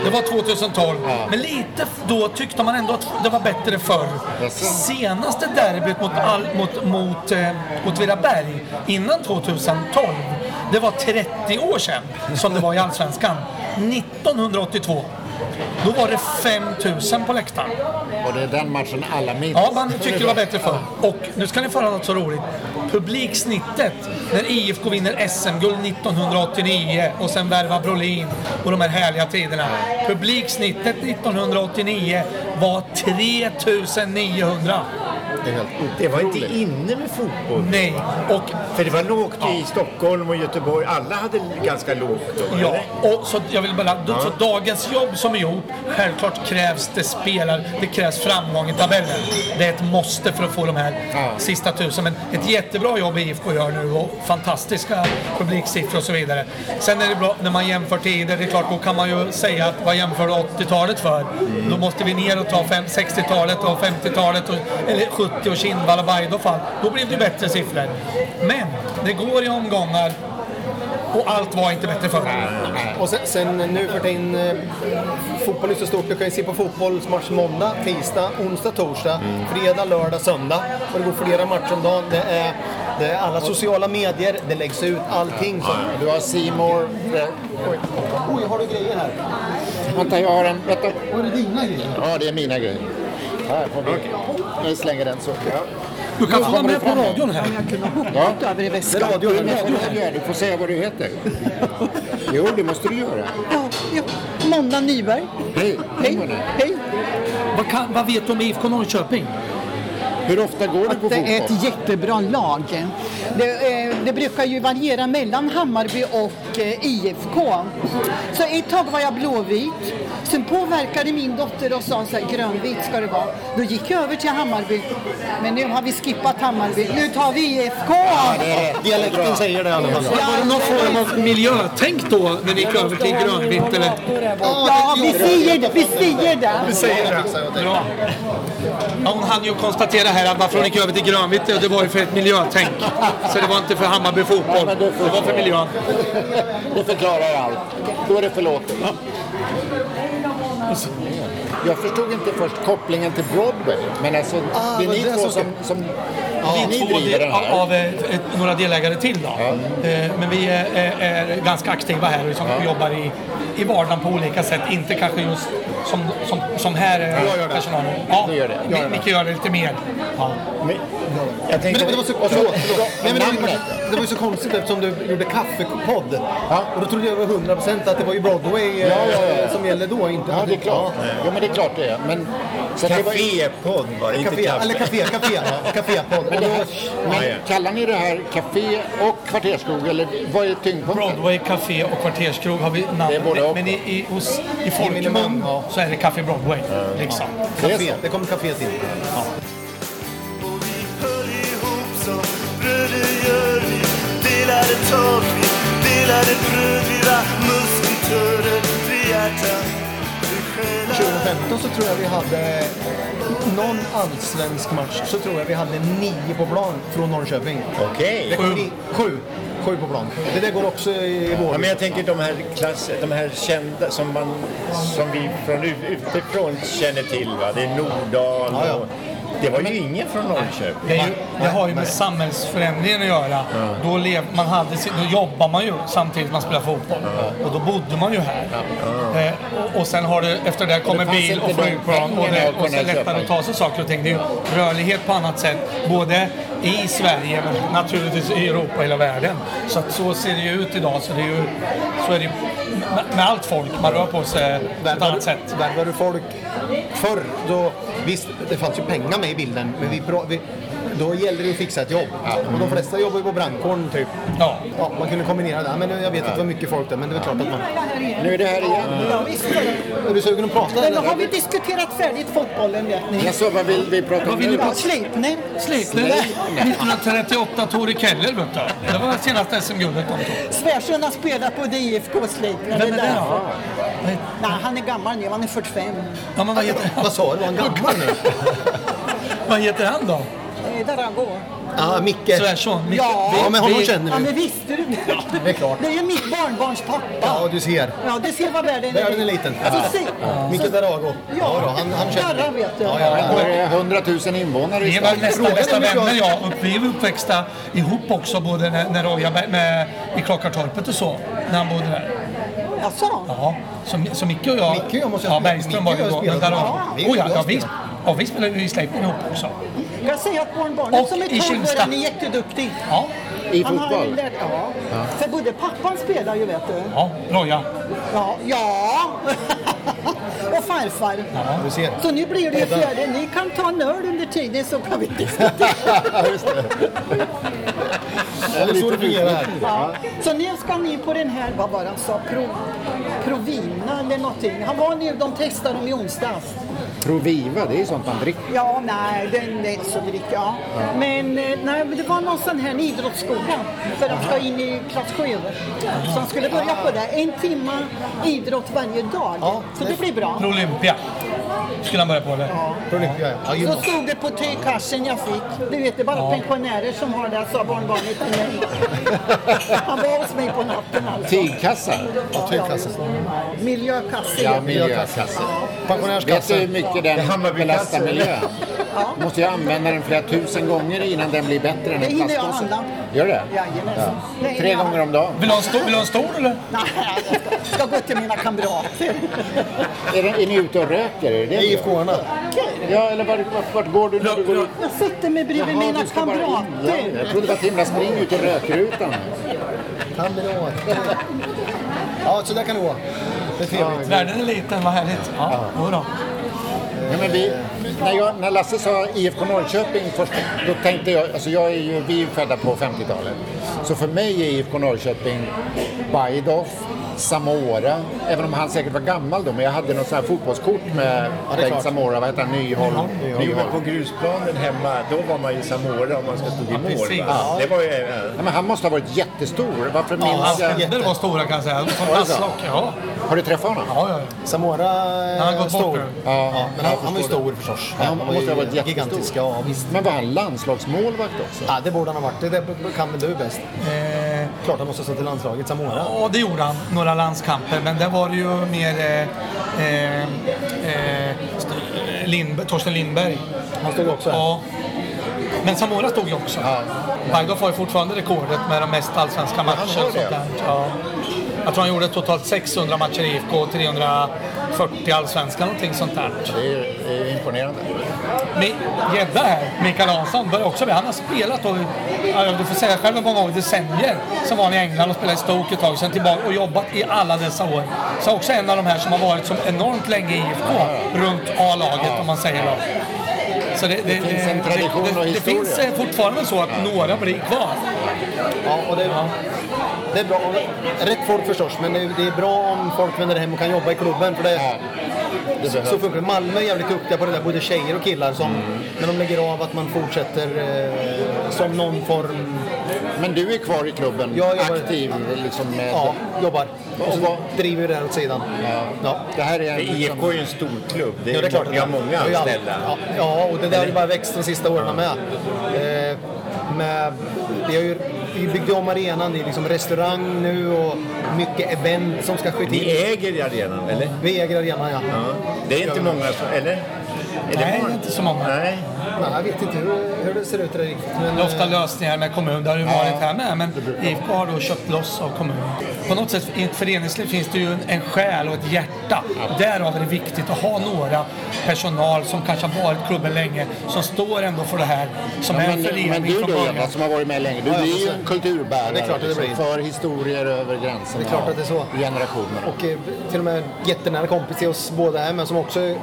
Det var 2012. Men lite f- då tyckte man ändå att det var bättre förr. Senaste derbyt mot, all, mot, mot eh, Åtvidaberg innan 2012, det var 30 år sedan som det var i Allsvenskan. 1982. Då var det 5 000 på läktaren.
Och det är den matchen alla minns?
Ja, man tycker det var bättre förr. Och nu ska ni få höra något så roligt. Publiksnittet när IFK vinner SM-guld 1989 och sen värvar Brolin och de här härliga tiderna. Publiksnittet 1989 var 3900.
Det är helt otroligt.
Det var inte inne med fotboll.
Nej, och
För det var lågt i Stockholm och Göteborg. Alla hade ganska lågt då,
Ja,
eller?
och så jag vill bara, så dagens jobb som är gjort, självklart krävs det spelar, det krävs framgång i tabellen. Det är ett måste för att få de här sista tusen. Men ett jättebra jobb IFK gör nu och fantastiska publiksiffror och så vidare. Sen är det bra när man jämför tider, det är klart då kan man ju säga att vad jämför du 80-talet för? Då måste vi ner och ta fem- 60-talet och 50-talet och, eller 70 och Kindvall och Bajdofall. Då blev det bättre siffror. Men det går i omgångar Och allt var inte bättre förr.
Och sen, sen nu för tiden, eh, fotboll är så stort. Du kan ju se på fotbollsmatch måndag, tisdag, onsdag, torsdag,
Mm.
fredag, lördag, söndag. Och det går flera matcher om dagen. Det är, det är alla sociala medier, det läggs ut allting. Så.
Du har Simor.
eh, Oj, oj, har du grejer här?
Vänta, jag har en. Vänta.
Var det dina grejer?
Ja, det är mina grejer. Här får vi. Jag slänger den så.
Du kan få vara med på radion här.
Ja.
över i
Det
väskan.
är radio. Det är radio. Du får säga vad du heter. Jo, det måste du göra.
Ja, ja. Monna Nyberg.
Hej.
Hej. Hej.
Vad, kan, vad vet du om IFK Norrköping?
Hur ofta går du på
Att det är
fotboll?
ett jättebra lag. Det, eh, det brukar ju variera mellan Hammarby och eh, IFK. Så ett tag var jag blåvit. Sen påverkade min dotter och sa så här, grönvit ska det vara. Då gick jag över till Hammarby. Men nu har vi skippat Hammarby. Nu tar vi IFK!
Dialekten säger det i alla fall.
Var det någon form av miljötänk då när ni gick över till grönvitt? Eller?
Ja, vi säger det! Vi säger det!
Bra. Ja, hon hann ju konstatera här att varför hon gick över till grönvitt, det var ju för ett miljötänk. Så det var inte för Hammarby fotboll, det var för miljön.
Det förklarar allt. Då är det förlåtet. Jag förstod inte först kopplingen till Broadway, men alltså,
Ah,
det är
vad
ni
det är
två
som ska-
som, som
Vi
ni
är två del,
driver den här.
av eh, ett, några delägare till då. Eh, Men vi är, är- är ganska aktiva här och liksom jobbar i, i vardagen på olika sätt. Inte kanske just som, som, som här eh,
Jag gör det.
personalen. Ja,
Du gör det.
Mi- Micke gör det lite mer. Ja.
Men, jag
Men
tänkte,
det, det var så,
och så,
förlåt, förlåt. Nej, men det, var ju-
namnet.
det var ju så konstigt eftersom du gjorde kaffepodd. Och då trodde jag över 100% att det var ju Broadway eh,
Ja, ja, ja.
som gällde då. Inte
Ja, det är klart. Jo, men det är klart det är. Men, så att det var,
Cafépodd var det, inte
Café,
kaffe.
eller café, café, cafépodd.
men,
Och
det
då-
här, men kallar ni det här café och kvarterskog, eller vad är tyngdpunkten?
Broadway, Café och Kvarterskrog har vi
Det är både
namnet.
och.
Men i, i, hos, i
min mun,
folkmun
ja.
så är det Café Broadway. Liksom.
Det är
Café,
så.
det kom café till.
Och vi höll ihop som bröder gör vi Delade tak, vi delade bröd Vi var musketörer, vi hjärtan, vi själar
2015 så tror jag vi hade någon allsvensk match så tror jag vi hade nio på plan från Norrköping.
Okej.
Sju. Sju. Sju på plan. Det där går också i
Ja,
vår.
men jag tänker de här, klass, de här kända som, man, som vi från ut- utifrån känner till. Va? Det är Nordahl
Ja, ja.
och... Det var ju ingen från Norrköping.
Det, är ju, det har ju med samhällsförändringen att göra. Då, lev, man hade, sin- då jobbar man ju samtidigt man spelar fotboll. Och då bodde man ju här. Eh, och, och sen har det, efter det där kommer
det fanns
bil
inte
och
de
flygplan och
pengarna
det
att
och så
kunna
lättare
köpa.
att ta sig saker och ting. Det är ju rörlighet på annat sätt. Både i Sverige men naturligtvis i Europa och hela världen. Så att så ser det ju ut idag. Så, det är ju, så är det ju med, med allt folk. Man rör på sig på ett
Värvar
annat
du,
sätt.
värvar du folk förr, då, visst, det fanns ju pengar med i bilden, men vi, pra- vi, då gällde det att fixa ett jobb. Och de flesta jobbar ju på brandkåren typ.
Ja.
Ja, man kunde kombinera det. Ja, Men jag vet att det var mycket folk där, men det är klart att man...
Nu är det här igen.
Ja, visst.
Är du sugen att prata
Men då har
eller?
vi diskuterat färdigt fotbollen vet ni.
Jaså, vad vill vi prata om
vill
nu?
du
Ja, Sleipner.
Sleipner 1938, Tore Keller vet du. Det var senaste SM-guldet de tog.
Svärsson har spelat både IFK och Sleipner.
Vem är
Det
det
där-
då?
Nej, han är gammal nu, han är 45.
Ja, men vad heter han?
Vad sa du? Var han gammal nu?
Vad heter han då?
Eh, Där han går.
Ja, Micke.
Svärsson? Micke-
Ja.
vi-
Ja, men honom
vi-
känner
Ja,
vi.
men visste du det?
det är klart.
Det är ju mitt barnbarns pappa.
Ja,
Ja,
du ser.
du ser vad världen
Världen är liten.
Så se-
Micke Darago.
Ja,
då, han, han
Darra
känner vi.
vet du.
Ja, ja,
Var
ja.
det 100 000 invånare i
Vi var
stan?
nästan bästa
hur
vänner
jag-
jag och vi var uppväxta ihop också både när, när Roja med, med, i Klockartorpet och så, när han bodde där.
Jaså?
Ja, så, Mi- så Micke och jag,
Micke och jag måste-
ja Bergström var
Micke
ju
och jag
då, men
spelade.
där har
Ja,
vi. Oh, ja,
jag
ja, vi,
spelade.
ja, vi spelade ju i Sleipner ihop också.
Jag säger att barnbarnet
Och
som är
i
12 år,
Kimstad.
han är jätteduktig.
Ja,
I
Han har ju
fotboll?
lärt, ja. För både pappan spelar ju vet du.
ja, Roja.
Ja. ja. [LAUGHS] Och farfar.
Ja,
Du ser.
Så nu blir det ju fjärde. Ni kan ta en öl under tiden så kan vi diskutera.
Ja, det är så det fungerar.
[LAUGHS] Ja. Så nu ska ni på den här, vad var det han sa, Pro, Provina eller någonting. Han var nu, de testade dem i onsdags.
Proviva, det är ju sånt man dricker.
Ja, nej, den är inte så dryg. Ja. Men eh, nej, men det var någon sån här idrottsskola för de ska in i klass 7. Så de skulle börja på det. En timme idrott varje dag.
Ja,
så
det-
det blir bra.
Olympia. Skulle han börja på eller? Ja,
Olympia ja.
Så stod det på tygkassen jag fick. Du vet, det är bara
Ja.
pensionärer som har det, sa barnbarnet till mig. Han var hos mig på natten alltså.
Tygkassa?
Ja,
tygkassa.
Miljökasse.
Ja,
heter det.
miljökasse.
Pensionärskassa.
Vet du hur mycket
Det är
den
Hammarbykasse.
belastar miljön? Måste jag använda den flera tusen gånger innan den blir bättre än
Det
en
hinner jag
plastpåse?
handla.
Gör det?
Jajamensan. Det hinner
Tre
jag
gånger om dagen.
Vill du ha en stor, vill du ha en stor eller?
Nej, jag ska gå till mina kamrater.
Är, det, är ni ute och röker? Är det det
IFK-arna?
Ja, eller vart, vart, vart går du när du går ut?
Jag sitter mig bredvid
Jaha,
mina
du ska bara in.
kamrater.
Ja, Jag trodde det var ett himla spring ut i rökrutan.
Kamrat. Ja, så där kan det gå. Det är trevligt.
Världen är liten, vad härligt. Ja, jodå.
Ja, men vi, när, jag, när Lasse sa IFK Norrköping först, då tänkte jag, alltså jag är ju, vi är ju födda på 50-talet. Så för mig är IFK Norrköping Bajdorf, Samora, även om han säkert var gammal då, men jag hade något sånt här fotbollskort med
det är
Bengt
klart.
Samora, vad heter han, Nyholm?
Vi var på grusplanen hemma, då var man ju Samora om man ska stå i mål.
precis.
va? Det var ju...
Ja, men han måste ha varit jättestor. Varför minns
Ja, hans
jag?
händer var stora kan jag säga. De var Som
Var det så?
dasslock, ja.
Har du träffat honom?
Ja, ja.
Samora eh,
Han har gått bort
stor.
nu.
Ja, men han,
jag
han var ju
förstår
stor
det.
förstås.
Ja, han måste ha varit
ju
jättestor.
gigantisk. Ja, visst.
Men var han landslagsmålvakt också?
Ja, det borde han ha varit. Det, det kan väl du bäst? Klart han måste ha stått i landslaget, Samora.
Ja, det gjorde han. Några landskamper. Men där var det ju mer eh, eh, eh, st- Lindberg, Torsten Lindberg.
Han stod också
här. Ja. Men Samora stod ju också. Bajdorf har ju fortfarande rekordet med de mest allsvenska matcher.
han har
och
det.
sånt där. Ja. Jag tror han gjorde totalt 600 matcher i IFK och 340 allsvenska, någonting sånt där.
Det är, det är imponerande.
Mi- Gädda här, Mikael Hansson, börjar också med. Han har spelat då, ja, du får säga själv en gång, i decennier så var han i England och spelade i Stoke ett tag, sen tillbaka och jobbat i alla dessa år. Så också en av de här som har varit som enormt länge i IFK, runt A-laget om man säger då. Så det, det, det
finns en tradition
det,
och
det, det
historia.
finns eh, fortfarande så att några blir kvar.
Ja, och det, det är bra. Och Rätt folk förstås, men det är, det är bra om folk vänder hem och kan jobba i klubben. För det,
det
så,
behövs. Mm.
så funkar det. Malmö är jävligt duktiga på det där, både tjejer och killar. Som, När de lägger av att man fortsätter eh, som någon form...
Men du är kvar i klubben?
Jag jobbar,
Aktiv liksom med...
Ja, jobbar. Och
Och
så
vad-
driver vi det här åt sidan. Ja. liksom-
Det här är en...
IFK är ju en stor klubb. Det är,
Ja, det är klart.
många, många
Ja, ja.
anställda.
Ja, ja, och det där har ju bara växt de sista åren med. Eh, med vi har ju vi byggde om arenan, det är liksom restaurang nu och mycket event som ska ske till.
Ni äger arenan, eller?
Vi äger arenan, ja.
Det är inte många som... Eller?
Nej, det är inte så många.
Nej.
Nej, jag vet inte hur, hur det ser ut där riktigt. Men,
Det är ofta
eh,
lösningar med kommun, det har ju varit här med, men IFK har då köpt loss av kommunen. På något sätt i ett föreningsliv finns det ju en- en själ och ett hjärta. Därav är det viktigt att ha några personal som kanske har varit i klubben länge, som står ändå för det här, som
Ja,
är
men,
en
men
förening
du
från
då
början.
Jenna, som har varit med länge, du
Ja, ja,
blir ju
så-
en kulturbärare.
Det är klart att det
liksom,
blir.
För historier över gränserna.
Det är klart att det är så.
och Generationer.
Och eh, till och med jättenära kompis till oss båda här, men som också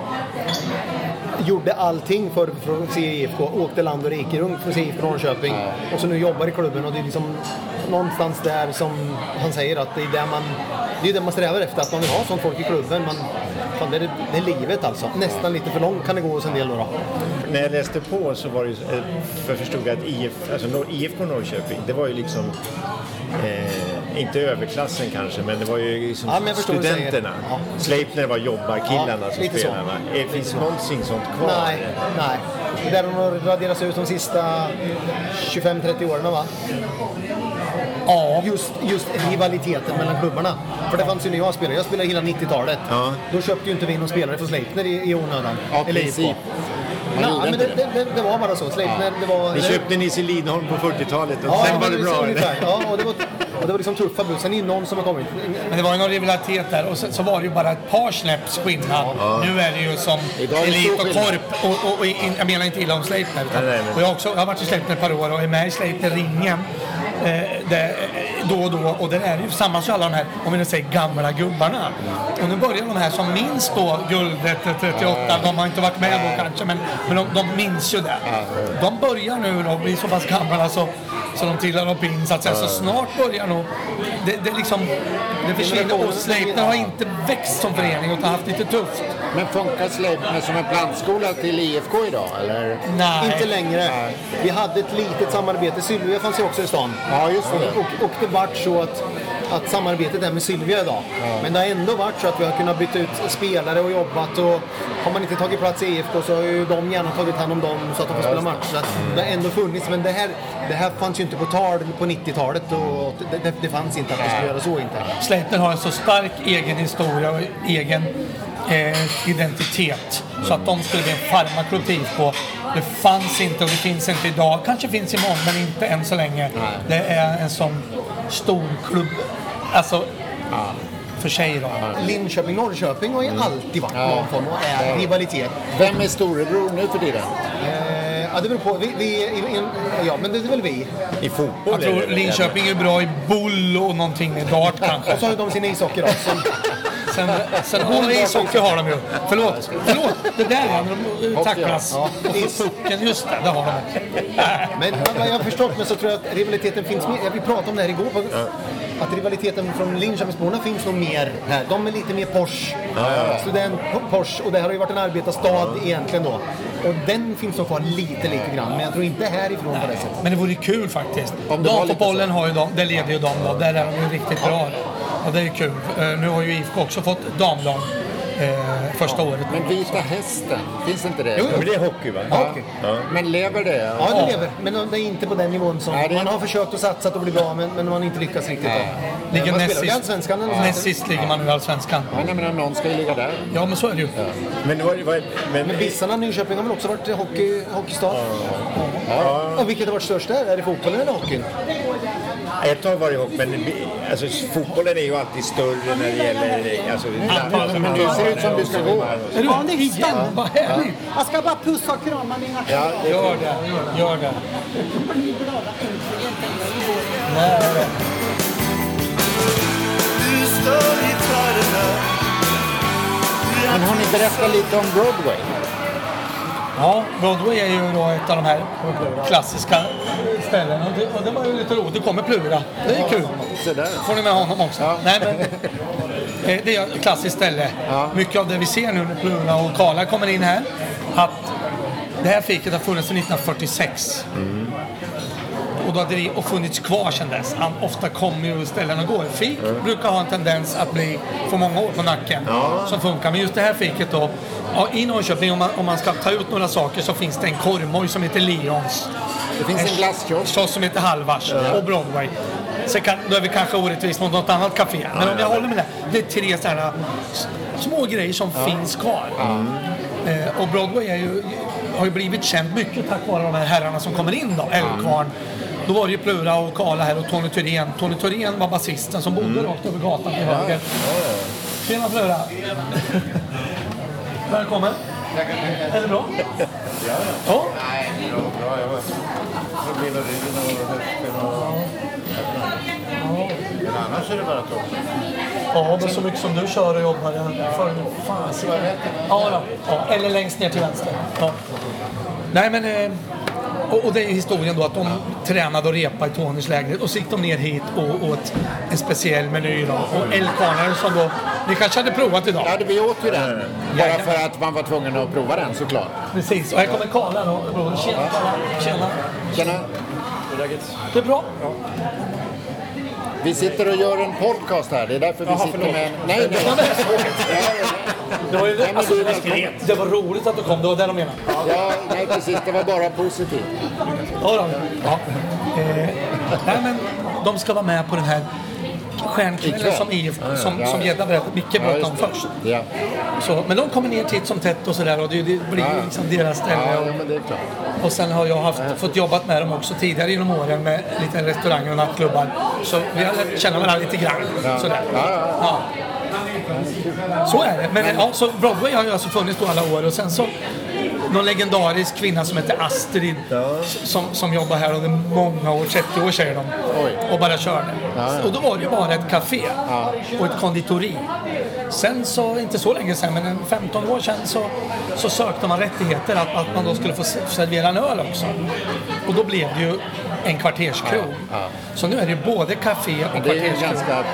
gjorde allting för, för att se IFK. Åkte land och rike runt för att se IFK Norrköping. Och så nu jobbar i klubben och det är liksom någonstans där som han säger att det är det man, det är det man strävar efter. Att man vill ha sånt folk i klubben. Man, fan, det, är, det är livet alltså. Nästan lite för långt kan det gå hos en del då. då.
När jag läste på så var det, ju- eh, för jag förstod jag att IF, alltså Nor- IFK Norrköping, det var ju liksom eh, inte överklassen kanske, men det var ju liksom
Ja, men jag förstår vad du säger.
studenterna.
Ja.
Sleipner var jobbarkillarna
Ja,
som
lite så.
spelade. va? Eh, Finns någonting sånt kvar?
Nej, nej. Det där har nog raderats ut de sista 25-30 åren va?
Ja.
Just, just rivaliteten mellan klubbarna. För det fanns ju när jag spelade. Jag spelade hela 90-talet.
Ja.
Då köpte ju inte vi någon spelare från Sleipner i, i onödan.
Ja,
Eller
princip.
IFK.
Man
Nej,
gjorde
men
inte
det, det, det, det var bara så. Sleipner, det var...
Ni köpte Nisse Lidholm på 40-talet och
Ja,
sen var
men
det
så
bra.
ungefär.
eller?
Ja, och det var, och det var liksom tuffa bud. Sen är det någon som har kommit.
Men det var ju någon rivalitet där och sen så var det ju bara ett par snäpps skillnad. Nu är det ju som
Idag är det
Elit
stor
och
skillnad.
Korp. Och, och, och, in- jag menar inte illa om Sleipner. utan-
Nej, nej, nej.
Och jag, har också, jag har varit i Sleipner ett par år och är med i Sleipner-ringen eh, där, eh, då och då. Och där är det ju samma alla de här, om vi nu säger gamla gubbarna. Och nu börjar de här som minns då guldet 38, de har inte varit med då kanske, men, men de, de minns ju det. De börjar nu då bli så pass gamla så, så de trillar av pinn så att säga. Så snart börjar nog, det, det liksom, det försvinner. Och Sleipner har inte växt som förening utan haft lite tufft.
Men funkar Sleipner som en plantskola till IFK idag, eller?
Nej.
Inte längre. Vi hade ett litet samarbete. Sylvia fanns ju också i stan.
Ja, just det.
Och, och det vart så att att samarbetet är med Sylvia idag. Men det har ändå varit så att vi har kunnat byta ut spelare och jobbat och har man inte tagit plats i IFK så har ju de gärna tagit hand om dem så att de får spela match. Så att
Mm.
det har ändå funnits, men det här, det här fanns ju inte på tal på 90-talet och det, det, det fanns inte att vi skulle göra så inte.
Släkten har en så stark egen historia och egen eh, identitet. Så att de skulle bli en farmaklubb till IFK. Det fanns inte och det finns inte idag. Kanske finns imorgon men inte än så länge. Det är en sån stor klubb. Alltså, för sig då.
Linköping Norrköping har ju alltid varit någon form av
Mm. Ja.
är rivalitet.
Vem är storebror nu för tiden?
Eh, ja, det beror på. Vi, vi, i- i- ja, men det är väl vi.
I fotboll
Jag tror Linköping är bra i boll och någonting i dart kanske.
Och så har de sin ishockey då. Som,
Sen, sen har de ishockey har de ju. Förlåt, förlåt. Det där ja, när de eh, tacklas.
Ja.
Och så pucken, just det, det har de.
Men vad jag har förstått men så tror jag att rivaliteten finns mer. Vi pratade om det här igår. på- Att rivaliteten från Linköpingsborna finns nog mer här. De är lite mer Porsche. Student Porsche. Och det här har ju varit en arbetarstad egentligen då. Och den finns nog kvar lite, lite grann. Men jag tror inte härifrån på det sättet.
Men det vore kul faktiskt.
det var lite
Damfotbollen har ju de, det leder ju de då. Där är de ju riktigt bra. Ja, det är kul. Eh, Nu har ju IFK också fått damlag eh, första året.
Men Vita Hästen, finns inte det?
Jo, jo.
Men det är hockey va?
Ja, hockey.
Men lever det?
Ja, det lever. Men det är inte på den nivån som...
Nej, det är-
Man har försökt att satsa och bli bra, men, men man har inte lyckats riktigt. då.
Ligger
man
näst
spelar i
sist.
Allsvenskan eller något
Näst
sånt.
sist ligger man nu i Allsvenskan.
Ja, nej, men om någon ska ju ligga där.
Ja, men så är det ju.
Men, det var, det var, men,
Men Bissarna, Nyköping har väl också varit hockey, hockeystad? Ja. Och vilket har varit störst där? Är det fotbollen eller hockeyn?
ett tag var det hockey, men alltså, fotbollen är ju alltid större när det gäller... Alltså,
Men du ser ut som du ska gå.
Är
Ja, det
du
är
tian?
sant.
Vad härligt!
Jag ska bara pussa och krama mina
Ja, det
Gör det, gör det.
Du stör gitarrerna
Men har ni berättat lite om Broadway?
Ja, Broadway är ju då ett av de här klassiska ställena. Och det, och det var ju lite roligt. Det kommer Plura. Det är kul.
Så där.
får ni med honom också.
Ja.
Nej, men, eh, det är ett klassiskt ställe. Mycket av det vi ser nu när Plura och Karla kommer in här, att det här fiket har funnits sedan 1946. Och, då hade det, och funnits kvar sedan dess. Han ofta kommer ju ställen och går. Fik brukar ha en tendens att bli för många år på nacken. Som funkar. Men just det här fiket då. Ja, I Norrköping, om man, om man ska ta ut några saker, så finns det en korvmoj som heter Leons
Det finns en glasskiosk.
kiosk som heter Halvars och Broadway. Sen kan, då är vi kanske orättvis mot något annat café. Men om jag håller med det. Det är tre sådana små grejer som finns kvar. Eh, och Broadway är ju, har ju blivit känd mycket tack vare de här herrarna som kommer in då. Älvkvarn. Då var det ju Plura och Karla här och Tony Thyrén. Tony Thyrén var basisten som bodde
Mm.
rakt över gatan till höger. Tjena Plura! Välkommen! Är det bra? Ja.
Annars är det bara tomt.
Ja, men så mycket som du kör och jobbar. jag- För fan, så- ja, ja, ja, eller längst ner till vänster. Ja. Nej, men... eh, Och, och det är historien då att de tränade och repade i Tony's och så gick de ner hit och åt en speciell meny då. Och eldkvarnar som då... Ni kanske hade provat idag?
Ja, det- vi åt ju den. Bara för att man var tvungen att prova den såklart.
Precis. Och här kommer Karla då. bror. Tjena, Karla. Tjena.
Tjena.
Det är bra.
Vi sitter och gör en podcast här. Det är därför vi sitter med en... Nej, nej.
Det var, ju,
men
alltså,
du är välkommen.
det var roligt att du kom. Det var det de menade.
Ja, nej, precis. Det var bara positivt.
Ja, då. ja. Eh, nej, men de ska vara med på den här stjärnkvällen
Ikväll.
som IF, som,
ja.
som Gedda berättade, Micke pratade om
just det.
först.
Ja,
Så, men de kommer ner titt som tätt och sådär och det, det blir ju liksom deras ställe.
ja, ja, men det är klart.
Och sen har jag haft, fått jobbat med dem också tidigare genom åren med lite restauranger och nattklubbar. Så vi har lärt känna varandra lite grann. Sådär.
Ja, ja,
Ja. Så är det. Men eh, ja, så Broadway har ju alltså funnits då alla år och sen så någon legendarisk kvinna som heter Astrid som, som jobbar här under många år, 30 år säger de. Och bara körde. Och då var det ju bara ett café och ett konditori. Sen så, inte så länge sen, men en 15 år sedan så, så sökte man rättigheter att, att man då skulle få se- servera en öl också. Och då blev det ju en kvarterskrog. Så nu är det ju både café och
Det är en
kvarterskrog.
ganska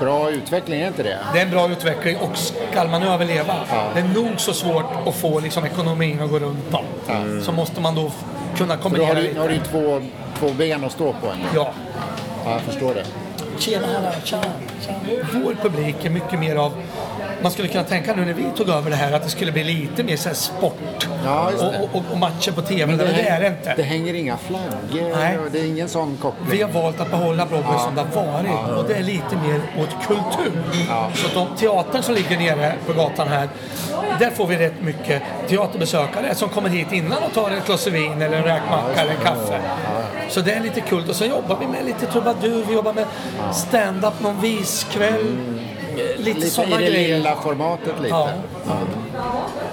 bra utveckling, är inte det?
Det är en bra utveckling och ska man överleva, det är nog så svårt att få liksom, ekonomin att gå runt då. Så måste man då f- kunna
För Då har
kombinera
du,
lite.
har du två, två ben att stå på. ändå.
Ja.
Ja, jag förstår det.
Tjena, hallå, tja, tja.
Vår publik är mycket mer av... Man skulle kunna tänka nu när vi tog över det här att det skulle bli lite mer så här sport och, och, och matcher på TV. Men det, är det inte.
Det hänger inga flaggor
Nej.
och det är ingen sån koppling.
Vi har valt att behålla Broadway
Ja.
som det har varit
Ja.
och det är lite mer åt kultur. Så att de teatern som ligger nere på gatan här, där får vi rätt mycket teaterbesökare som kommer hit innan och tar ett glas vin eller en räkmacka eller en kaffe. Så det är lite kul och så jobbar vi med lite trubadur, vi jobbar med stand-up någon viskväll. eh, Lite,
Lite
sådana
i det
grejer.
lilla formatet lite.
Ja.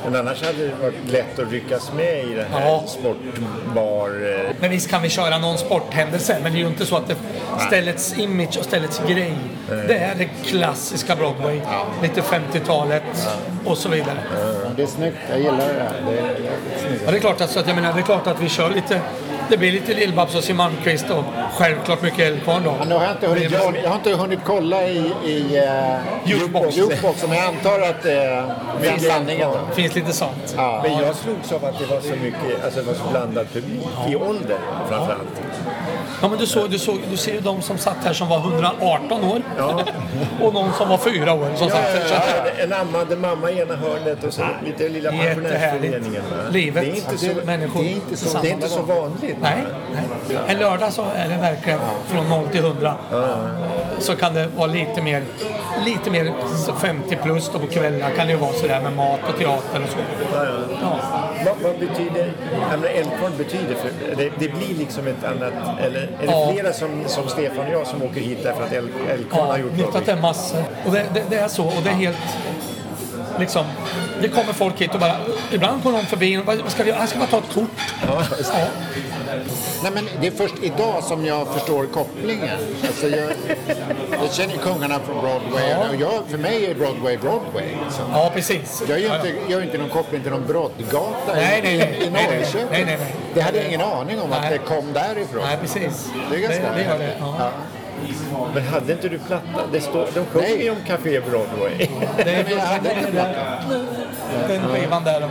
Men annars hade det varit lätt att ryckas med i det här sportbar... eh,
Men visst kan vi köra någon sporthändelse, men det är ju inte så att det ställets image och ställets grej.
Eh.
Nej.
Det är det klassiska Broadway, lite 50-talet och så vidare.
Det är snyggt, jag gillar det här. Det är,
Ja, det är klart att, så att jag menar, det är klart att vi kör lite, det blir lite Lill-Babs och Siw Malmkvist och självklart mycket Eldkvarn då.
Men nu har jag, inte hunnit, jag, jag har inte hunnit kolla i, i uh, jukebox. jukeboxen, men jag antar att eh, det är sanningen. då.
finns lite sånt.
Men jag slogs av att det var så mycket, alltså det var så blandad publik i ålder framförallt.
Ja, men du, såg, du, såg, du ser ju de som satt här som var 118 år [LAUGHS] och någon som var fyra år som satt här. Så att-
En ammande mamma i ena hörnet och så lite lilla pensionärsföreningen. va?
Livet,
Det är inte så,
människor.
Det är inte så, det är inte så
tillsammans.
vanligt.
Nej. nej. En lördag så är det verkligen från 0 till 100. Så kan det vara lite mer, lite mer 50 plus då på kvällarna kan det ju vara sådär med mat och teater och så.
Vad, vad betyder, jag menar, Eldkvarn betyder för, det, det blir liksom ett annat, eller är det
Ja.
flera som, som Stefan och jag som åker hit därför att Eld- Eldkvarn
Ja,
har gjort
nyttjat det massor. Och det, det, det är så och det är helt liksom det kommer folk hit och bara, ibland går någon förbi och bara, "Vad ska vi göra? Jag ska bara ta ett kort. Ja.
Nej, men det är först idag som jag förstår kopplingen. Alltså jag, jag känner kungarna från Broadway
Ja.
och jag, för mig är Broadway Broadway. Liksom.
Ja, precis.
Jag gör
Ja, ja.
inte, jag gör inte någon koppling till någon broddgata
Nej,
i-
nej, nej.
i
Nej, nej.
Norrköping.
Nej, nej, nej.
Det hade jag ingen aning om att
Nej.
det kom därifrån.
Nej, precis.
Det är ganska
Det- det gör det, ja.
Men hade inte du platta? Det står, de sjunger ju om Café Broadway.
Nej, men jag hade inte Den skivan där. då.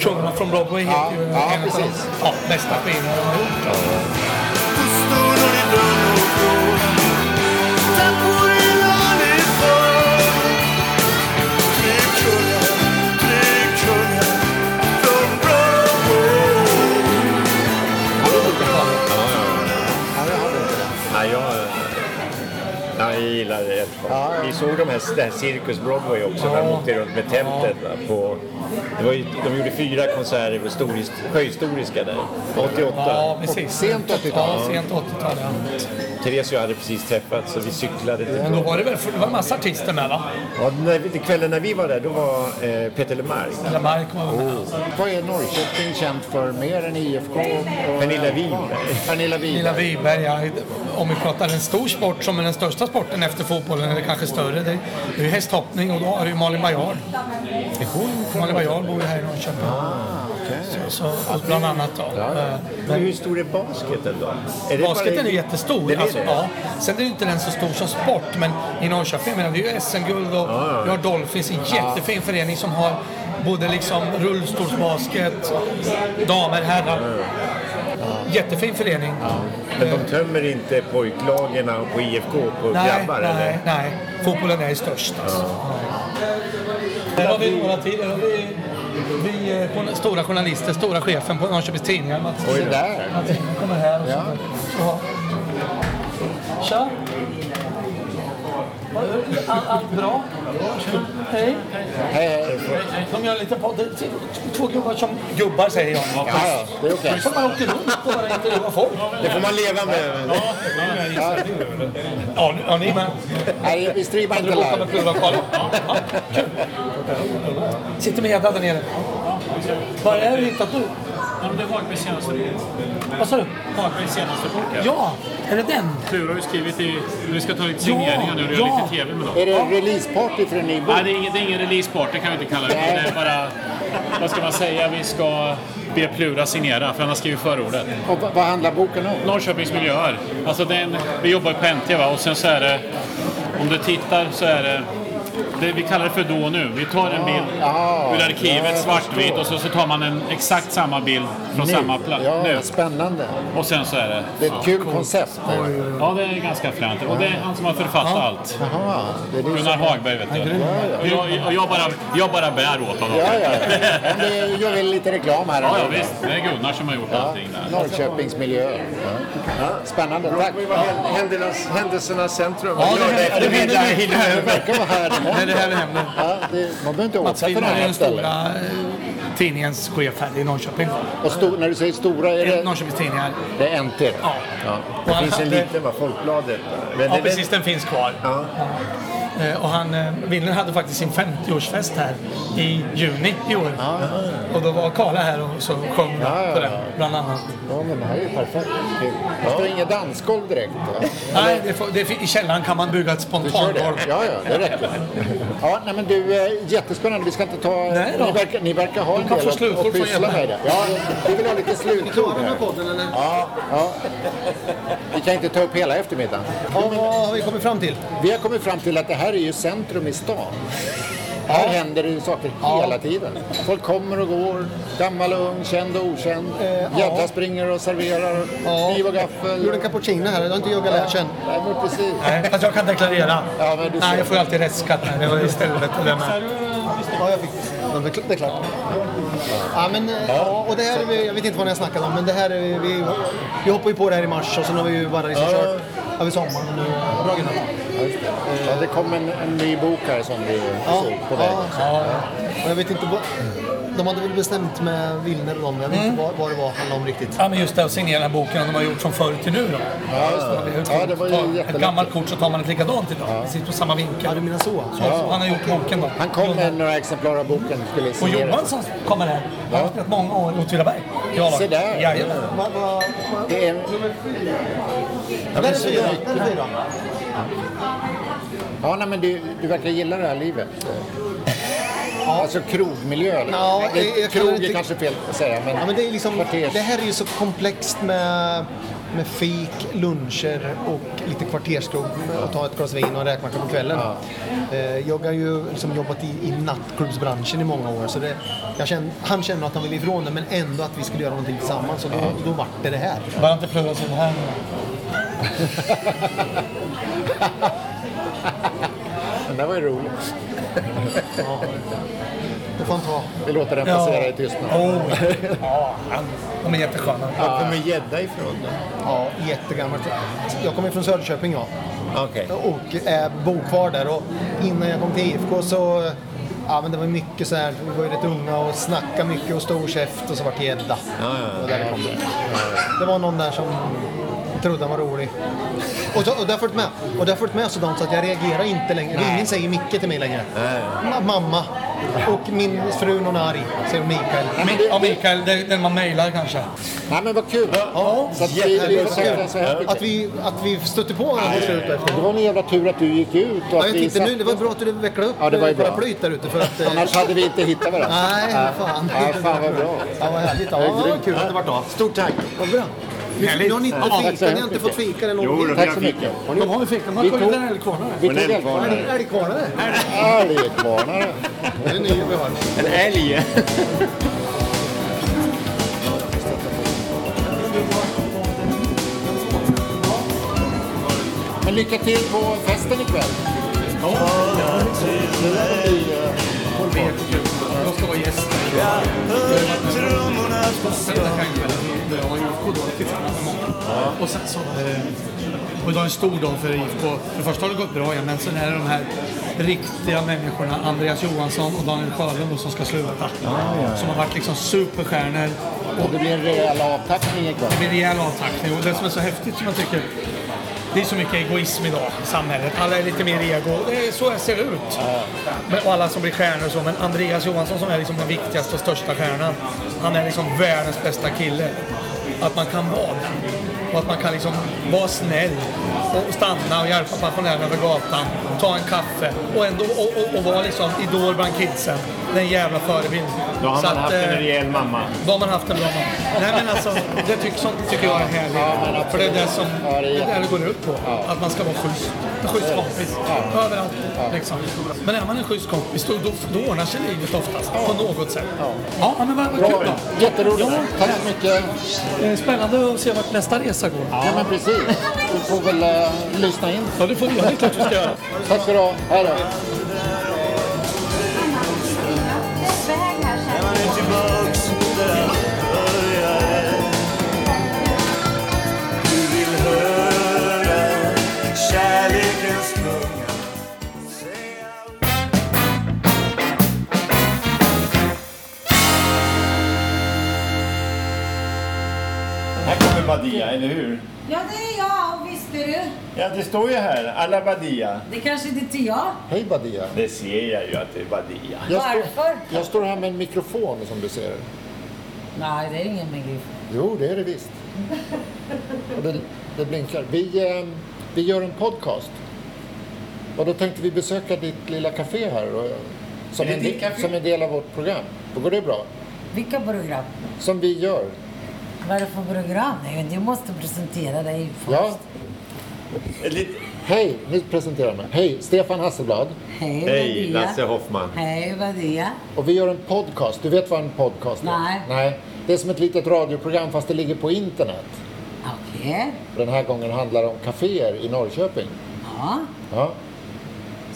Kungarna från Broadway heter ju
ja,
en av de
precis.
ja, bästa skivorna de har gjort.
Nej, jag, ja, jag gillar det helt klart. Vi såg de här, det här Cirkus Broadway också när de åkte runt med tältet. va, På, det var ju, de gjorde fyra konserter på Storhist- sjöhistoriska där, 88.
Ja, precis.
Sent 80-tal.
Ja, sent 80-tal, ja.
Therese och jag hade precis träffats så vi cyklade till
Men då var det väl för, det var en massa artister med va?
Ja, när vi, kvällen när vi var där, då var eh, Peter Oh. Lemark.
Lemark var
Vad är Norrköping känt för mer än IFK? och-
Pernilla Wiberg.
Pernilla Wiberg.
Lilla Wiberg, ja. Om vi pratar en stor sport som är den största sporten efter fotbollen, eller kanske större, det det är ju hästhoppning och då har du ju Malin Baryard. Malin Baryard bor ju här i Norrköping.
Ah,
Så- så, och bland annat då. Eh,
Men hur stor är basketen då? Är det
Basketen
bara-
är ju jättestor.
Den är
alltså,
det?
Ja. Sen är det ju inte den så stor som sport, men i Norrköping, jag menar, vi har ju SM-guld och vi har Dolphins, en jättefin förening som har både liksom rullstolsbasket, damer, herrar. Jättefin förening.
Men de tömmer inte pojklagen på IFK på
Nej,
grabbar
nej,
eller?
nej. Fotbollen är störst. Alltså. Där har vi några till. Där har vi, vi eh, journa- stora journalister, stora chefen på Norrköpings Tidningar. Mats.
Oj, det där.
Mats kommer här och
Ja.
sånt där. Ja. Tja! Vad- Allt, allt bra? Hej!
Hej,
De gör lite podd. Det är Två gubbar som gubbar säger jag.
Ja, ja, det är okej.
Som bara åker runt och bara intervjuar folk.
Det får man leva med. Ja.
Ja, ni- ja, ni med.
Nej, vi streamar inte
Kan du åka med
live.
Plura och kolla? Ja, ja, kul. Sitter med Hedda där nere. Var är du hittat nu?
Det var Hagbergs senaste bok.
Vad sa du?
Hagbergs senaste bok.
Ja, är det den?
Plura har ju skrivit i... Vi ska ta lite signeringar nu och göra
ja.
lite TV med dem.
Är det releaseparty för en ny bok?
Nej, det är ingen, det är ingen releasepart, det kan vi inte kalla det.
Nej.
Det är bara... Vad ska man säga? Vi ska be Plura signera, för han har skrivit förordet.
Och vad vad handlar boken om?
Norrköpings miljöer. Alltså den, vi jobbar ju på NT va? och sen så är det, om du tittar så är det det, vi kallar det för då nu. Vi tar en bild
ja,
ur
ja,
arkivet,
jag
svartvit,
förstår.
och så, så tar man en exakt samma bild från
Nu.
samma plats.
Ja,
nu.
spännande.
Och sen så är det...
Det är ett kul koncept.
Ja, det är ganska fränt. Och det är han som har författat allt.
Jaha, det är det
Gunnar
som-
Hagberg, vet
Ja,
du.
ja.
Och jag, och jag, bara, jag bara bär åt honom.
Ja, ja. Men det gör vi lite reklam här.
Ja, ja, visst. Det är Gunnar som har gjort allting där.
Norrköpingsmiljö. Ja. Spännande, tack.
Händelsernas, händelsernas centrum.
Ja, det händer-
efter
det
middag.
händer mycket här. Det verkar vara här det händer.
Nej, det här händer.
Ja, det, man behöver inte åka
Mats
till det
Hillman är
här
den
stället.
stora eh, tidningens chef här i Norrköping.
Och stor, när du säger stora, är det...
Norrköpings Tidningar.
Det är NT? Ja.
Och han hade-
va? Folkbladet?
Ja, precis. Den finns kvar. Eh, Och han, eh, Wilner hade faktiskt sin 50-årsfest här i juni i år. Och då var Karla här och så sjöng på den, bland annat.
Ja, men det här är ju perfekt. Kul. Det står inget dansgolv direkt. va?
Nej, det får, det, fi- i källaren kan man bygga ett
Du kör det?
spontangolv.
Ja, ja, det räcker. Ja, nej, men du, eh, jättespännande. Vi ska inte ta... ni, verkar, ni verkar ha
Du
en
kan
del
få
att-
slutord
att
från
pyssla med.
Jeppe.
Det. Ja, vi vill ha lite slutord här.
eller?
Ja, ja. Vi kan inte ta upp hela eftermiddagen.
vad har vi kommit fram till?
Vi har kommit fram till att det här är ju centrum i stan. Här händer det ju saker hela tiden. Folk kommer och går, gammal och ung, känd och okänd.
Eh,
Gädda springer och serverar, kniv och gaffel.
Gjorde en cappuccino här, det har inte Jugga lärt sig än.
Nej, men precis.
Nej, fast jag kan deklarera.
Ja, men du ser.
Nej, jag får ju alltid restskatt när jag är i stället. eller med.
Ja, jag fick ja, det. Det är klart. Ja, men, eh, ja, och det här, är vi- jag vet inte vad ni har snackat om, men det här, är vi, vi, vi hoppar ju på det här i mars och sen har vi ju bara liksom
Ja.
kört över sommaren och nu bra grejer.
Ja, just det. Ja, det kom en, en ny bok här som du
Ja,
såg på
ja,
vägen.
ja. Och jag vet inte vad... De hade väl bestämt med Wilner och dem, jag vet
Mm.
inte vad, vad det var handlade om riktigt.
Ja, men just det att signera boken de har gjort från förr till nu då.
Ja, just det.
Så har vi gjort-
Ja, det var ju
tar
jättelätt.
Ett gammalt kort så tar man ett likadant idag. Precis på samma vinkel. Ja,
du menar så?
så Han har gjort boken då.
Han kom med några exemplar av boken. Skulle
Och
signeras.
Johansson kommer här. Han har spelat många år i Åtvidaberg. i A-laget.
Se där.
Jajamän.
Vad- vad- vad-
Det är...
Där är fyra, där är fyra.
Ja, nej, men du, du verkar gilla det här livet. Alltså krogmiljö. eller?
Ja,
Det-
jag- jag kan
krog är
inte-
kanske fel att säga, men,
Ja, men det, är liksom,
kvarters.
det här är ju så komplext med, med fik, luncher och lite kvarterskrog och ta ett glas vin och en räkmacka på kvällen. Eh, Jag har ju liksom jobbat i, i nattklubbsbranschen i många år så det, jag kände, han kände att han ville ifrån det men ändå att vi skulle göra någonting tillsammans och då, då vart det det här.
Bara inte plugga sig det
[LAUGHS]
här nu.
Den där var ju rolig.
Det får han ta.
Vi låter den passera i tystnad.
Oh,
[LAUGHS]
ja, han- de är jättesköna.
Var kommer gädda ifrån då?
Ja, jättegammalt. Jag kommer från Söderköping jag.
Okej.
och eh, bor kvar där. Och innan jag kom till IFK så eh, ja, men det var mycket så här, vi var ju rätt unga och snackade mycket och stor käft och så vart det gädda. Det var där det kom. Det var någon där som trodde han var rolig. Och, så, och det har följt med. Och det har följt med sådant så att jag reagerar inte längre. Ingen säger Micke till mig längre. Ma- Mamma. Och min fru någon är arg, säger Mikael.
Ja, Mikael, det- den man mejlar kanske.
Nej, men vad kul.
Ja,
Så att vi-
jättebra.
vi försökte så här mycket.
Att vi, att vi stötte på varandra till slut. efter.
Det var en jävla tur att du gick ut och
Ja,
att
jag
vi
tänkte nu,
satt...
det var bra att du vecklade upp
Ja, det var ju
eh,
bra.
paraplyet där ute för att... eh,
Annars hade vi inte hittat varandra.
Nej, vad fan.
Ja, fan vad bra.
Ja, vad härligt. Ja,
Det är
vad
grymt.
kul att det vart av.
Stort tack.
Vad bra. Nu, nu har ni inte
Ja, tack så
fika, ni har
hemskt
inte fått
mycket.
fika eller
Jo,
någonting.
då, vi har fika.
De har ju fika, de har
Vi
kommit
tog-
en älgkvarnare.
Vi tog
En
En
älgkvarnare.
älgkvarnare?
Älgkvarnare.
Det är en ny vi har.
En älg.
Men lycka till på festen ikväll.
De ska vara gäster. Och sen så... eh, Och idag är en stor dag för IFK. För det första har det gått bra igen, men sen är det de här riktiga människorna, Andreas Johansson och Daniel Sjölund då, som ska sluta. Som har varit liksom superstjärnor.
Och det blir en rejäl avtackning ikväll.
Det är rejäl avtackning. Och det som är så häftigt som jag tycker, det är så mycket egoism idag i samhället. Alla är lite mer ego. Det är så jag ser ut. Men, och alla som blir stjärnor och så. Men Andreas Johansson som är liksom den viktigaste och största stjärnan, han är liksom världens bästa kille. Att man kan vara där. Och att man kan liksom vara snäll och, och stanna och hjälpa pensionärerna över gatan, ta en kaffe och ändå och, och, och vara liksom idol bland kidsen. Den jävla förebild.
Då har
Så
man
att,
haft en
eh,
rejäl mamma.
då har man haft en bra man. Nej men alltså, det tycker, sånt tycker jag är härligt. För det är det som det, är det går ut på. Att man ska vara schysst. En schysst kompis. Överallt. Liksom. Men är man en schysst kompis då, då, då ordnar sig livet oftast. På något sätt. Ja, men vad, vad kul då.
Jätteroligt.
Ja,
Tack så mycket.
Eh, Spännande att se vart nästa resa går.
Ja, men precis. Du får väl eh, lyssna in.
Ja, det får vi göra. Det är klart vi ska göra.
Tack ska du ha. Hej då.
Man är tillbaks där allt började. Du vill höra kärlekens tunga
Här kommer Badia, eller hur?
Ja, det är jag, och visste du.
Ja, det står ju här. Alla Badia.
Det kanske inte är till jag.
Hej Badia. Det ser jag ju att det är Badia.
Varför?
Jag står här med en mikrofon som du ser.
Nej, det är ingen mikrofon.
Jo, det är det visst. Och det, det blinkar. Vi, eh, vi gör en podcast. Och då tänkte vi besöka ditt lilla café här. Och, som,
Är det
en,
ditt
di-
café?
som en del av vårt program. Då går det bra.
Vilka program?
Som vi gör.
Vad är det för program? Nej, men Du måste presentera dig först.
Ja. Hej, nu presenterar jag mig. Hej, Stefan Hasselblad.
Hej, Hej, Maria. Lasse
Hoffman.
Hej, vad är det?
Och vi gör en podcast. Du vet vad en podcast är?
Nej.
Nej. Det är som ett litet radioprogram fast det ligger på internet.
Okej.
Den här gången handlar det om kaféer i Norrköping.
Ja,
Ja,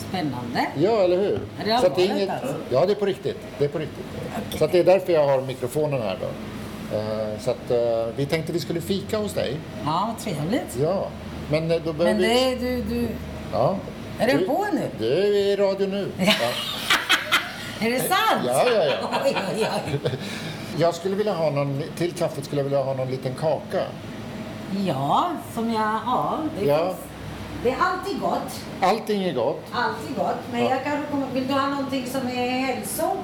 spännande.
ja eller hur?
Är det
Så att
allvarligt alltså?
Ja, det är på riktigt. Det är på riktigt. Så att det är därför jag har mikrofonen här då. Eh, Så att eh, vi tänkte vi skulle fika hos dig.
Ja, vad trevligt.
Ja, men eh, då behöver
Men
vi...
det är du, du...
Ja.
Är den
Du-
på nu?
Du är i radio nu. Ja.
Är det sant?
Ja, ja, ja.
[LAUGHS] Oj, oj, oj.
Jag skulle vilja ha någon, till kaffet skulle jag vilja ha någon liten kaka.
Ja, som jag har. Det,
Ja,
det är alltid gott.
allting är gott.
Alltid gott. Men
Ja.
jag kanske kommer... Vill du ha någonting som är hälso?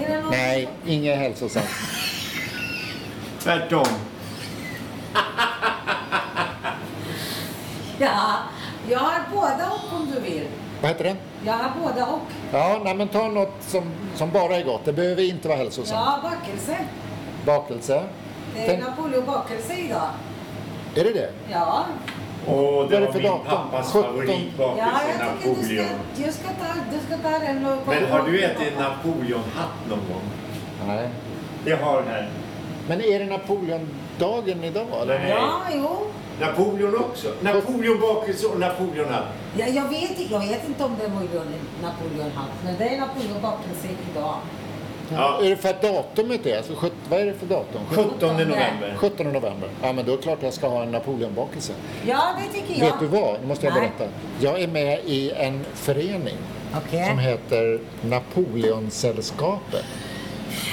Är det någon...
Nej, inget hälsosamt.
Tvärtom.
Ja, jag har båda och om du vill.
Vad heter den?
Jag har båda och.
Ja, nej men ta något som, som bara är gott. Det behöver inte vara hälsosamt.
Ja, bakelse.
Bakelse.
Det är
Tänk-
Napoleonbakelse idag.
Är det det?
Ja.
Åh,
Vad
det
är det
var
för
min
datum?
pappas
Ja,
17?
favoritbakelse,
jag tycker du ska,
Napoleon.
du ska ta, du ska ta den och
Men har du ätit en Napoleonhatt någon gång?
Nej.
Det har den här.
Men är det Napoleondagen idag? Eller?
Ja, jo.
Napoleon också. Napoleonbakelse och Napoleonhatt.
Ja, jag, vet, inte- jag vet inte om det var Napoleon hatt, men det är Napoleonbakelse idag.
Ja. Är det för att datumet är? Alltså, sjut- vad är det för datum?
17 november.
17 november. Ja, men då är det klart jag ska ha en Napoleonbakelse.
Ja, det tycker jag.
Vet du vad? Nu måste jag
Nej.
berätta. Jag är med i en förening
Okej.
som heter Napoleonsällskapet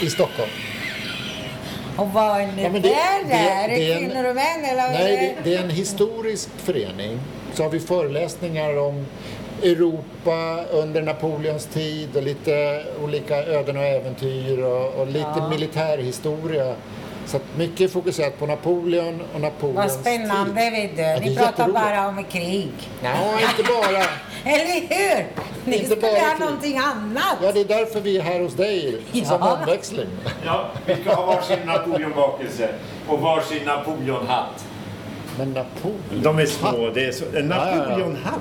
i Stockholm.
Och vad är ni
Ja, men det-
där?
det-
är
det
det
är en-
kvinnor och män eller? vad är
Nej, det, det är en historisk förening. Så har vi föreläsningar om Europa under Napoleons tid och lite olika öden och äventyr och, och lite
Ja.
militärhistoria. Så att mycket är fokuserat på Napoleon och
Vad
Napoleons
spännande
tid.
vet
Ja,
du.
det är
Ni pratar
jätteroligt.
bara om krig.
Nej, inte bara.
Eller hur? Ni
Inte
skulle
bara
ha
krig.
någonting annat.
Ja, det är därför vi är här hos dig som
Ja.
omväxling.
Ja, vi ska ha varsin Napoleonbakelse och varsin Napoleonhatt.
Men Napoleon?
De är små. Det är så, en
Ja, ja, ja.
Napoleonhatt.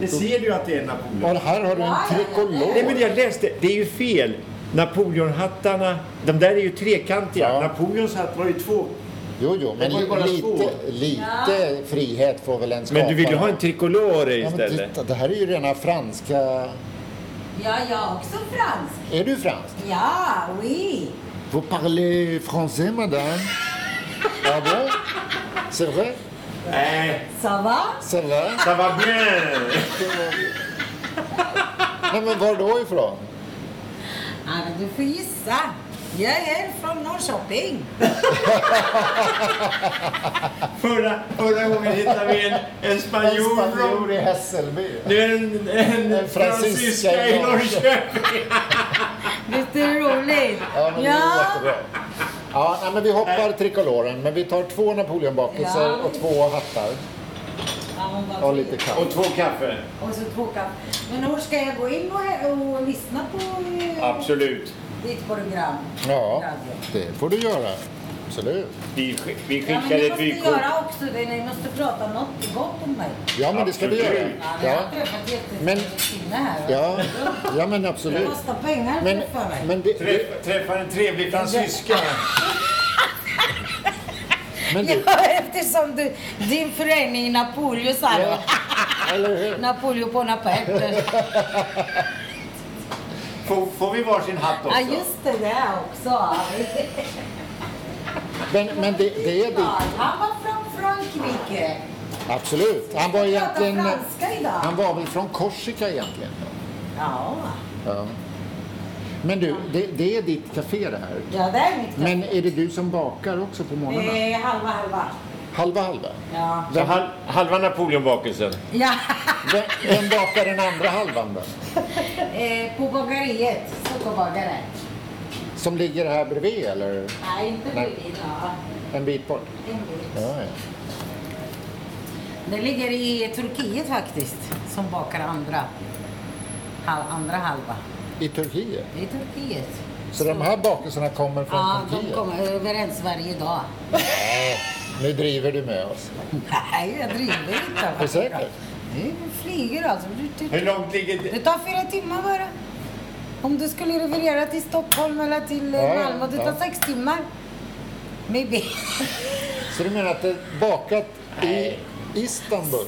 Det ser du att det är en Napoleon.
Och här har du en trikolor.
Nej, men jag läste. Det är ju fel. Napoleonhattarna, de där är ju trekantiga. Napoleons hatt var ju två.
Jo, jo, men
Det var ju bara två.
lite, lite frihet får väl en skapa.
Men du vill ju ha en tricolore
Ja, men
istället.
titta, det här är ju rena franska...
Ja, jag är också fransk.
Är du fransk?
Ja, oui.
Vous parlez français, madame? ah bon? C'est vrai?
Nej.
Ça va?
Ça va?
Ça va bien!
Nej, men var då ifrån?
Ja, men du får gissa. Jag är från Norrköping.
Förra, förra gången hittade vi en, en spanjor.
En spanjor i Hässelby.
Nu är det en, en,
En
fransyska i Norrköping.
Visst är det roligt?
Ja, men det är jättebra. Ja, nej, men vi hoppar trikoloren, men vi tar två Napoleonbakelser
Ja.
och två hattar. Och lite kaffe.
Och två kaffe.
Och så två kaffe. Men Nor, ska jag gå in och, och lyssna på eh,
Absolut.
ditt program?
Ja, det får du göra. Absolut.
Vi, vi
Ja, men ni måste göra också det. Ni måste prata något gott om mig.
Ja, men det ska vi göra.
Ja, ni
Ja.
har träffat
Men,
jättetrevlig kvinna här.
ja, ja men
Det
absolut.
kostar pengar att
Men-
träffa mig.
men det-
Träff, träffar en trevlig fransyska.
Men du,
[LAUGHS] Ja, eftersom du, din förening Napoleon sa ja, [LAUGHS] Napoleon
[LAUGHS]
Bonaparte.
Får, får vi varsin hatt
Ja,
också?
just det, det
[LAUGHS]
också.
men, men det, det är ditt.
Han var från Frankrike.
Absolut. Han var egentligen...
franska idag.
Han var väl från Korsika egentligen.
Ja,
Ja. Men du, det, det är ditt café det här.
ja det är mitt
Men är det du som bakar också på morgnarna?
eh, halva, halva.
Halva halva?
Ja.
Så hal, halva Napoleonbakelsen.
Ja, [LAUGHS]
Vem, vem bakar den andra halvan då?
eh, på bageriet, sockerbagare.
Som ligger här bredvid eller?
Nej, inte
Nej.
bredvid. Ja.
En bit bort?
En bit.
Ja, ja.
Det ligger i Turkiet faktiskt, som bakar andra, hal, andra halva.
I Turkiet?
I Turkiet.
Så de här bakelserna kommer från
Ja, de
Turkiet?
kommer överens varje dag.
Nej, nu driver du med
[LAUGHS]
oss.
Nej, jag driver inte.
Är du säker?
Du flyger alltså. Du, du,
Hur långt ligger det?
det tar fyra timmar bara. Om du skulle leverera till Stockholm eller till eh,
Ja, ja,
Malmö, det tar
ja.
sex timmar. Maybe.
Så du menar att det är bakat i Istanbul?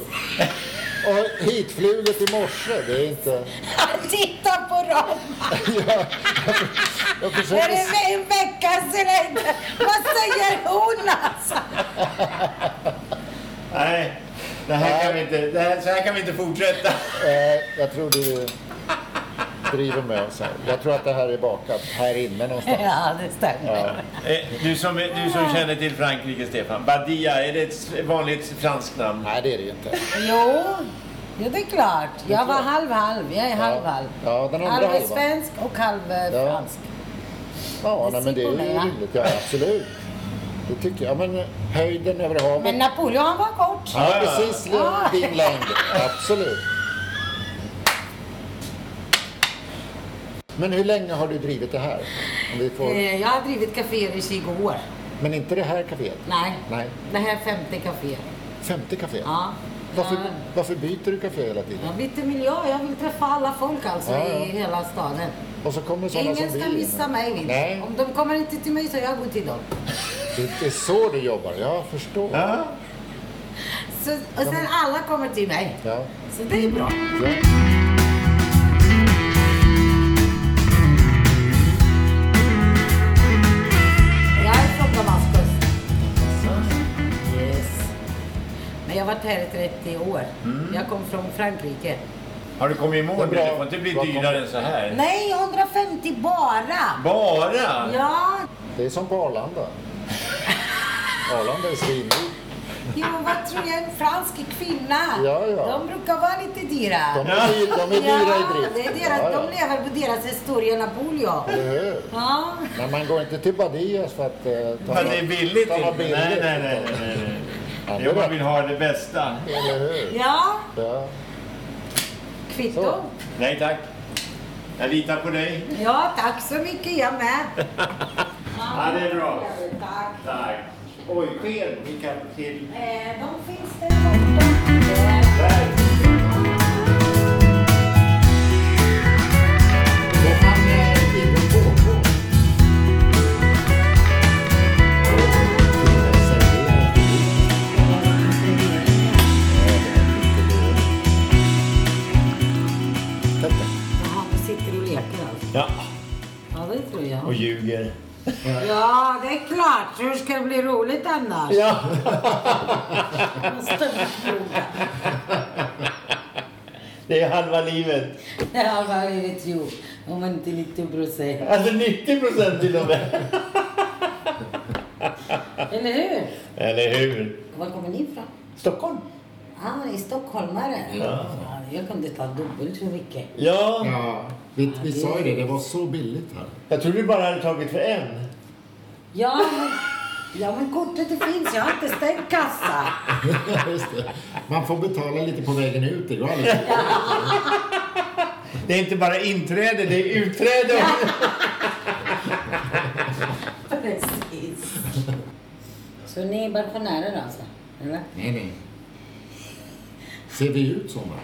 Och hitfluget i morse, det är inte...
[LAUGHS] Titta på dem!
Jag
Det är
försöker...
det en vecka sedan. Vad säger hon alltså?
Nej, det här kan vi inte, det här, så här kan vi inte fortsätta.
Eh, jag tror du driver med oss här. Jag tror att det här är bakat här inne någonstans.
Ja, det stämmer.
Eh, Du som, du som känner till Frankrike, Stefan. Badia, är det ett s- vanligt franskt namn?
Nej, det är det inte.
Jo, ja, det är klart. Jag var halv-halv. Jag är
Ja.
halv-halv.
Ja, den andra
halv är
halvan.
svensk och halv eh,
Ja.
fransk.
Ja, nej, men det är
Simonella.
ju rimligt. Ja, absolut. Det tycker jag. Ja, men höjden över havet.
Men Napoleon han var kort.
Han är precis
Ja.
din längd. Absolut. Men hur länge har du drivit det här? Om vi får...
Eh, Jag har drivit kaféer i 20 år.
Men inte det här kaféet?
Nej,
Nej.
det här är femte kaféet.
Femte kaféet?
Ja.
Varför,
Ja.
varför byter du kafé hela tiden?
Jag bytte miljö. Jag vill träffa alla folk alltså
Ja, ja.
i hela staden.
Och så kommer sådana
Ingen
som
ska
vi.
missa mig. Vill.
Nej,
Om de kommer inte till mig så jag går till dem.
det är så du jobbar. Jag förstår. Ja.
Så, och sen alla kommer till mig.
Ja.
Så det är bra. Jag är från Damaskus. Yes. Men jag har varit här i 30 år.
Mm.
Jag kom från Frankrike.
Har du kommit i mål?
Det är
Det,
bra.
det får inte bli dyrare än så här.
Nej, 150 bara!
Bara?
Ja,
Det är som på
[LAUGHS]
Arlanda. Arlanda är svindyrt.
jo, vad tror jag, en fransk kvinna.
Ja, ja.
De brukar vara lite dyra.
De är dyra- de är dyra i
Ja,
drift.
det är deras,
Ja, ja.
de lever på deras historia Napoleon.
Eller hur?
Ja.
Men man går inte till Badias för att eh, ta
Men det är billigt.
ta
Nej,
något billigt.
nej, nej. nej, nej.
Ja, det är
Jag bara
rätt.
vill ha det bästa.
Eller hur?
ja,
Ja.
kvitto.
Nej tack. Jag litar på dig.
Ja, tack så mycket, jag med.
[LAUGHS]
Ja, det är bra.
Tack.
Tack. Oj, sked vi kan till...
Eh, de finns där borta.
Där.
Jaha, de sitter och leker alltså.
Ja,
Ja, det tror jag.
och ljuger.
Ja, det är klart. Hur ska det bli roligt annars?
Alltså. [LAUGHS]
Ja. Det är halva livet.
Ja, vad vet jag. Om inte 90 procent.
Alltså 90 procent till och med.
Eller hur?
Eller hur?
Var kommer ni ifrån?
Stockholm.
Ah, ni är stockholmare.
Ja.
Jag kunde ta dubbelt så mycket.
Ja.
ja. Vi, vi sa ju det, det var så billigt här.
Jag tror du bara hade tagit för en.
Ja, men Ja, men kortet det finns. Jag har inte stängt kassa.
[LAUGHS]
[LAUGHS]
Just det. Man får betala lite på vägen ut. Det går alldeles
Det är inte bara inträde, det är utträde.
Precis. Så ni är bara pensionärer alltså? Eller?
Nej, nej. Ser vi ut såna?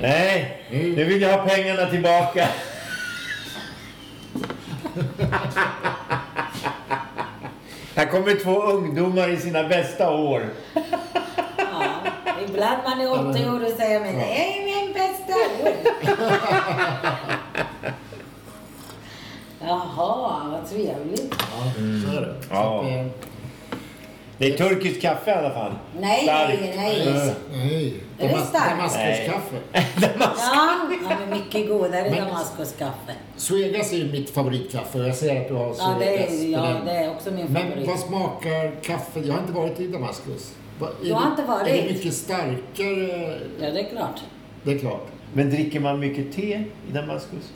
Nej, nu vill jag ha pengarna tillbaka. Här kommer två ungdomar i sina bästa år.
Ibland man är 80 år och säger men det är min bästa år. Jaha, vad trevligt.
Så är det.
Ja. Det är turkiskt kaffe i alla fall.
Nej, nej, nej.
Nej.
Är det starkt?
Damaskuskaffe.
Ja, ja, men mycket godare
Men-
Damaskuskaffe.
Suegas är ju mitt favoritkaffe och jag ser att du har
Ja,
Suegas.
det
på
är, ja,
din.
det är också min
Men
favorit.
vad smakar kaffe? Jag har inte varit i Damaskus. Va- är
Du har
det-
inte varit?
Är det mycket starkare?
Ja, det är klart.
Det är klart.
Men dricker man mycket te i Damaskus?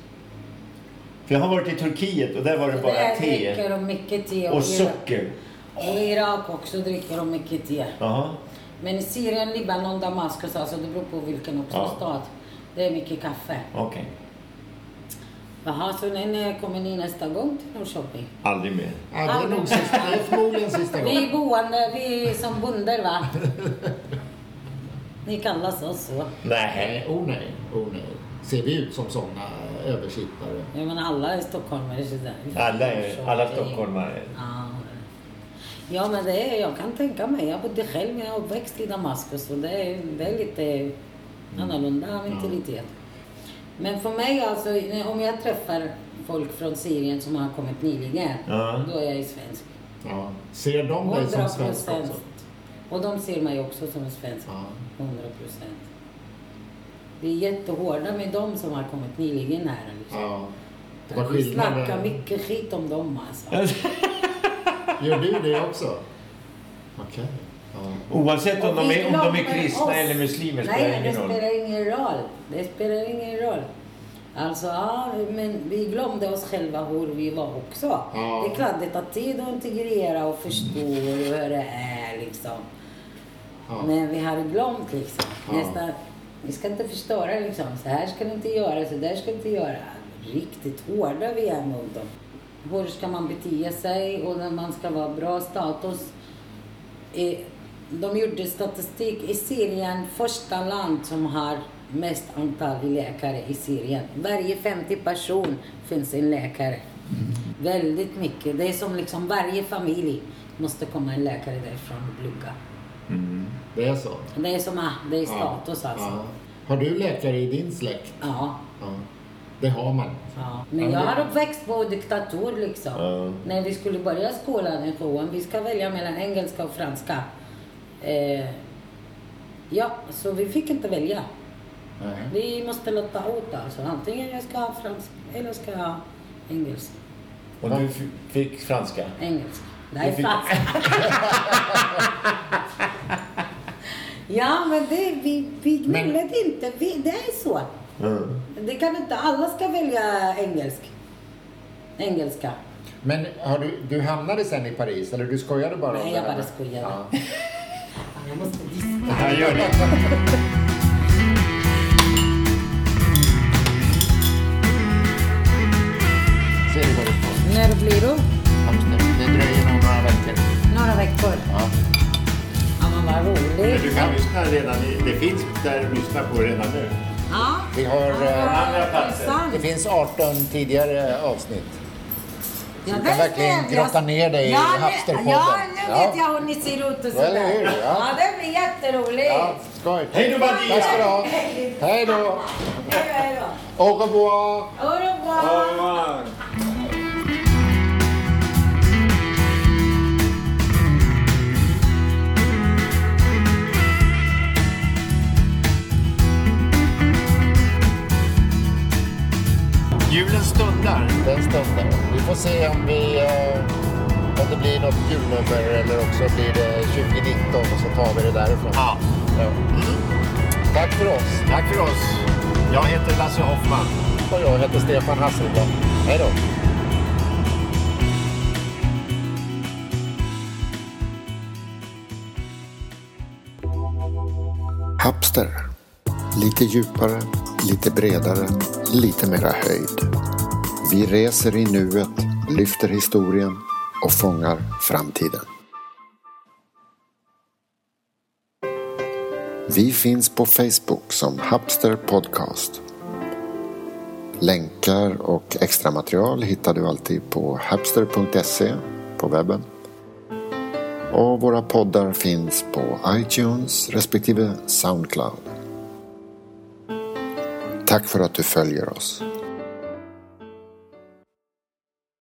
För jag har varit i Turkiet och där var det bara
Där
te.
dricker de mycket te.
Och
i-
socker.
Och i Irak också dricker de mycket te.
Jaha.
Men i Syrien, Libanon, Damaskus, alltså det beror på vilken också
Ja.
stad. Det är mycket kaffe.
Okej.
Jaha, så när- när kommer ni nästa gång till Norrköping?
Aldrig mer.
Ja, det är nog sista, det är förmodligen sista
Vi är
gången.
boende, vi är som bonder
[LAUGHS]
va? Ni kallas oss så.
Nej.
Oh nej, oh nej. Ser vi ut som såna översittare?
Jag menar alla är stockholmare. Så där.
Alla, är, alla stockholmare.
Ja. Ja men det är, jag kan tänka mig. Jag bodde själv när jag uppväxt i Damaskus och det är, det är
Mm.
lite annorlunda mentalitet. Men för mig alltså, när- om jag träffar folk från Syrien som har kommit nyligen,
Ja.
då är jag ju svensk.
Ja. Ser de dig som
100
[LAUGHS]
svensk också?
Och de ser mig också som en svensk. 100 procent. Vi är jättehårda med de som har kommit nyligen här. Liksom.
Ja. Det var
Vi
skillnad.
snackar mycket skit om dem alltså.
Gör du det också? Okej. Ja.
Oavsett om
Och
de
vi
är, om de
glömmer
är kristna
oss.
eller muslimer spelar
Nej, det
ingen roll.
spelar ingen roll. Det spelar ingen roll. Alltså, ja, men vi glömde oss själva hur vi var också.
Ja.
Det är klart, det tar tid att integrera och förstå hur det är liksom.
Ja.
Men vi har glömt liksom.
Ja.
Nästan, vi ska inte förstöra liksom. Så här ska du inte göra, så där ska du inte göra. Riktigt hårda vi är mot dem. Hur ska man bete sig och när man ska vara bra status. Eh, De gjorde statistik i Syrien, första land som har mest antal läkare i Syrien. Varje 50 person finns en
Mm.
läkare. Väldigt mycket. Det är som liksom varje familj måste komma en läkare därifrån och plugga.
Mm.
Det är så?
Det är som, ah, det är status
Ja.
alltså.
Ja. Har du läkare i din släkt?
Ja.
Det har man.
Men jag
Ja, det-
har uppväxt på diktatur liksom.
Ja.
När vi skulle börja skolan i tvåan, vi ska välja mellan engelska och franska. Eh, ja, så vi fick inte välja.
Nej.
Vi måste lotta ut alltså. Antingen jag ska ha franska eller jag ska ha engelska.
Och du f- fick franska?
Engelska.
Du
Nej,
fick-
franska.
[LAUGHS]
ja, men det, vi, vi gnällde inte. Vi, det är så.
Mm.
Det kan inte, alla ska välja engelsk. Engelska.
Men har du, du hamnade sen i Paris, eller du skojade bara? om
Nej,
det
jag
här
bara
med-
skojade.
Ja.
Jag måste diska.
Ja, gör det.
Ser du vad det får?
När blir du?
Det dröjer nog några veckor.
Några veckor?
Ja.
Ja, men vad
Men
roligt.
du kan lyssna redan i, Det finns där du lyssnar på redan nu.
Ja,
Vi har... eh,
Andra platser.
Det finns 18 tidigare avsnitt.
ja
Du
där
kan verkligen
ställde jag-
grotta ner dig i
Ja, nu-
Hapsterpodden.
Ja, nu vet jag hur ni ser ut och
Ja, eller
sådär.
hur? Ja.
ja, det blir jätteroligt.
Ja, skoj.
Hej då, Maria!
Tack ska du ha. Hej då!
Hej då.
Au revoir!
Ha det bra.
Julen stundar. Den stundar. Vi får se om, vi, eh, om det blir något julnummer eller också blir det 2019 och så tar vi det därifrån. Ja. Mm. Tack för oss. Tack för oss. Jag heter Lasse Hoffman. Och jag heter Stefan Hasselblad. Hej då.
Hapster. Lite djupare, lite bredare, lite mera höjd. Vi reser i nuet, lyfter historien och fångar framtiden. Vi finns på Facebook som Hapster Podcast. Länkar och extra material hittar du alltid på hapster.se på webben. Och våra poddar finns på iTunes respektive Soundcloud. Tack för att du följer oss.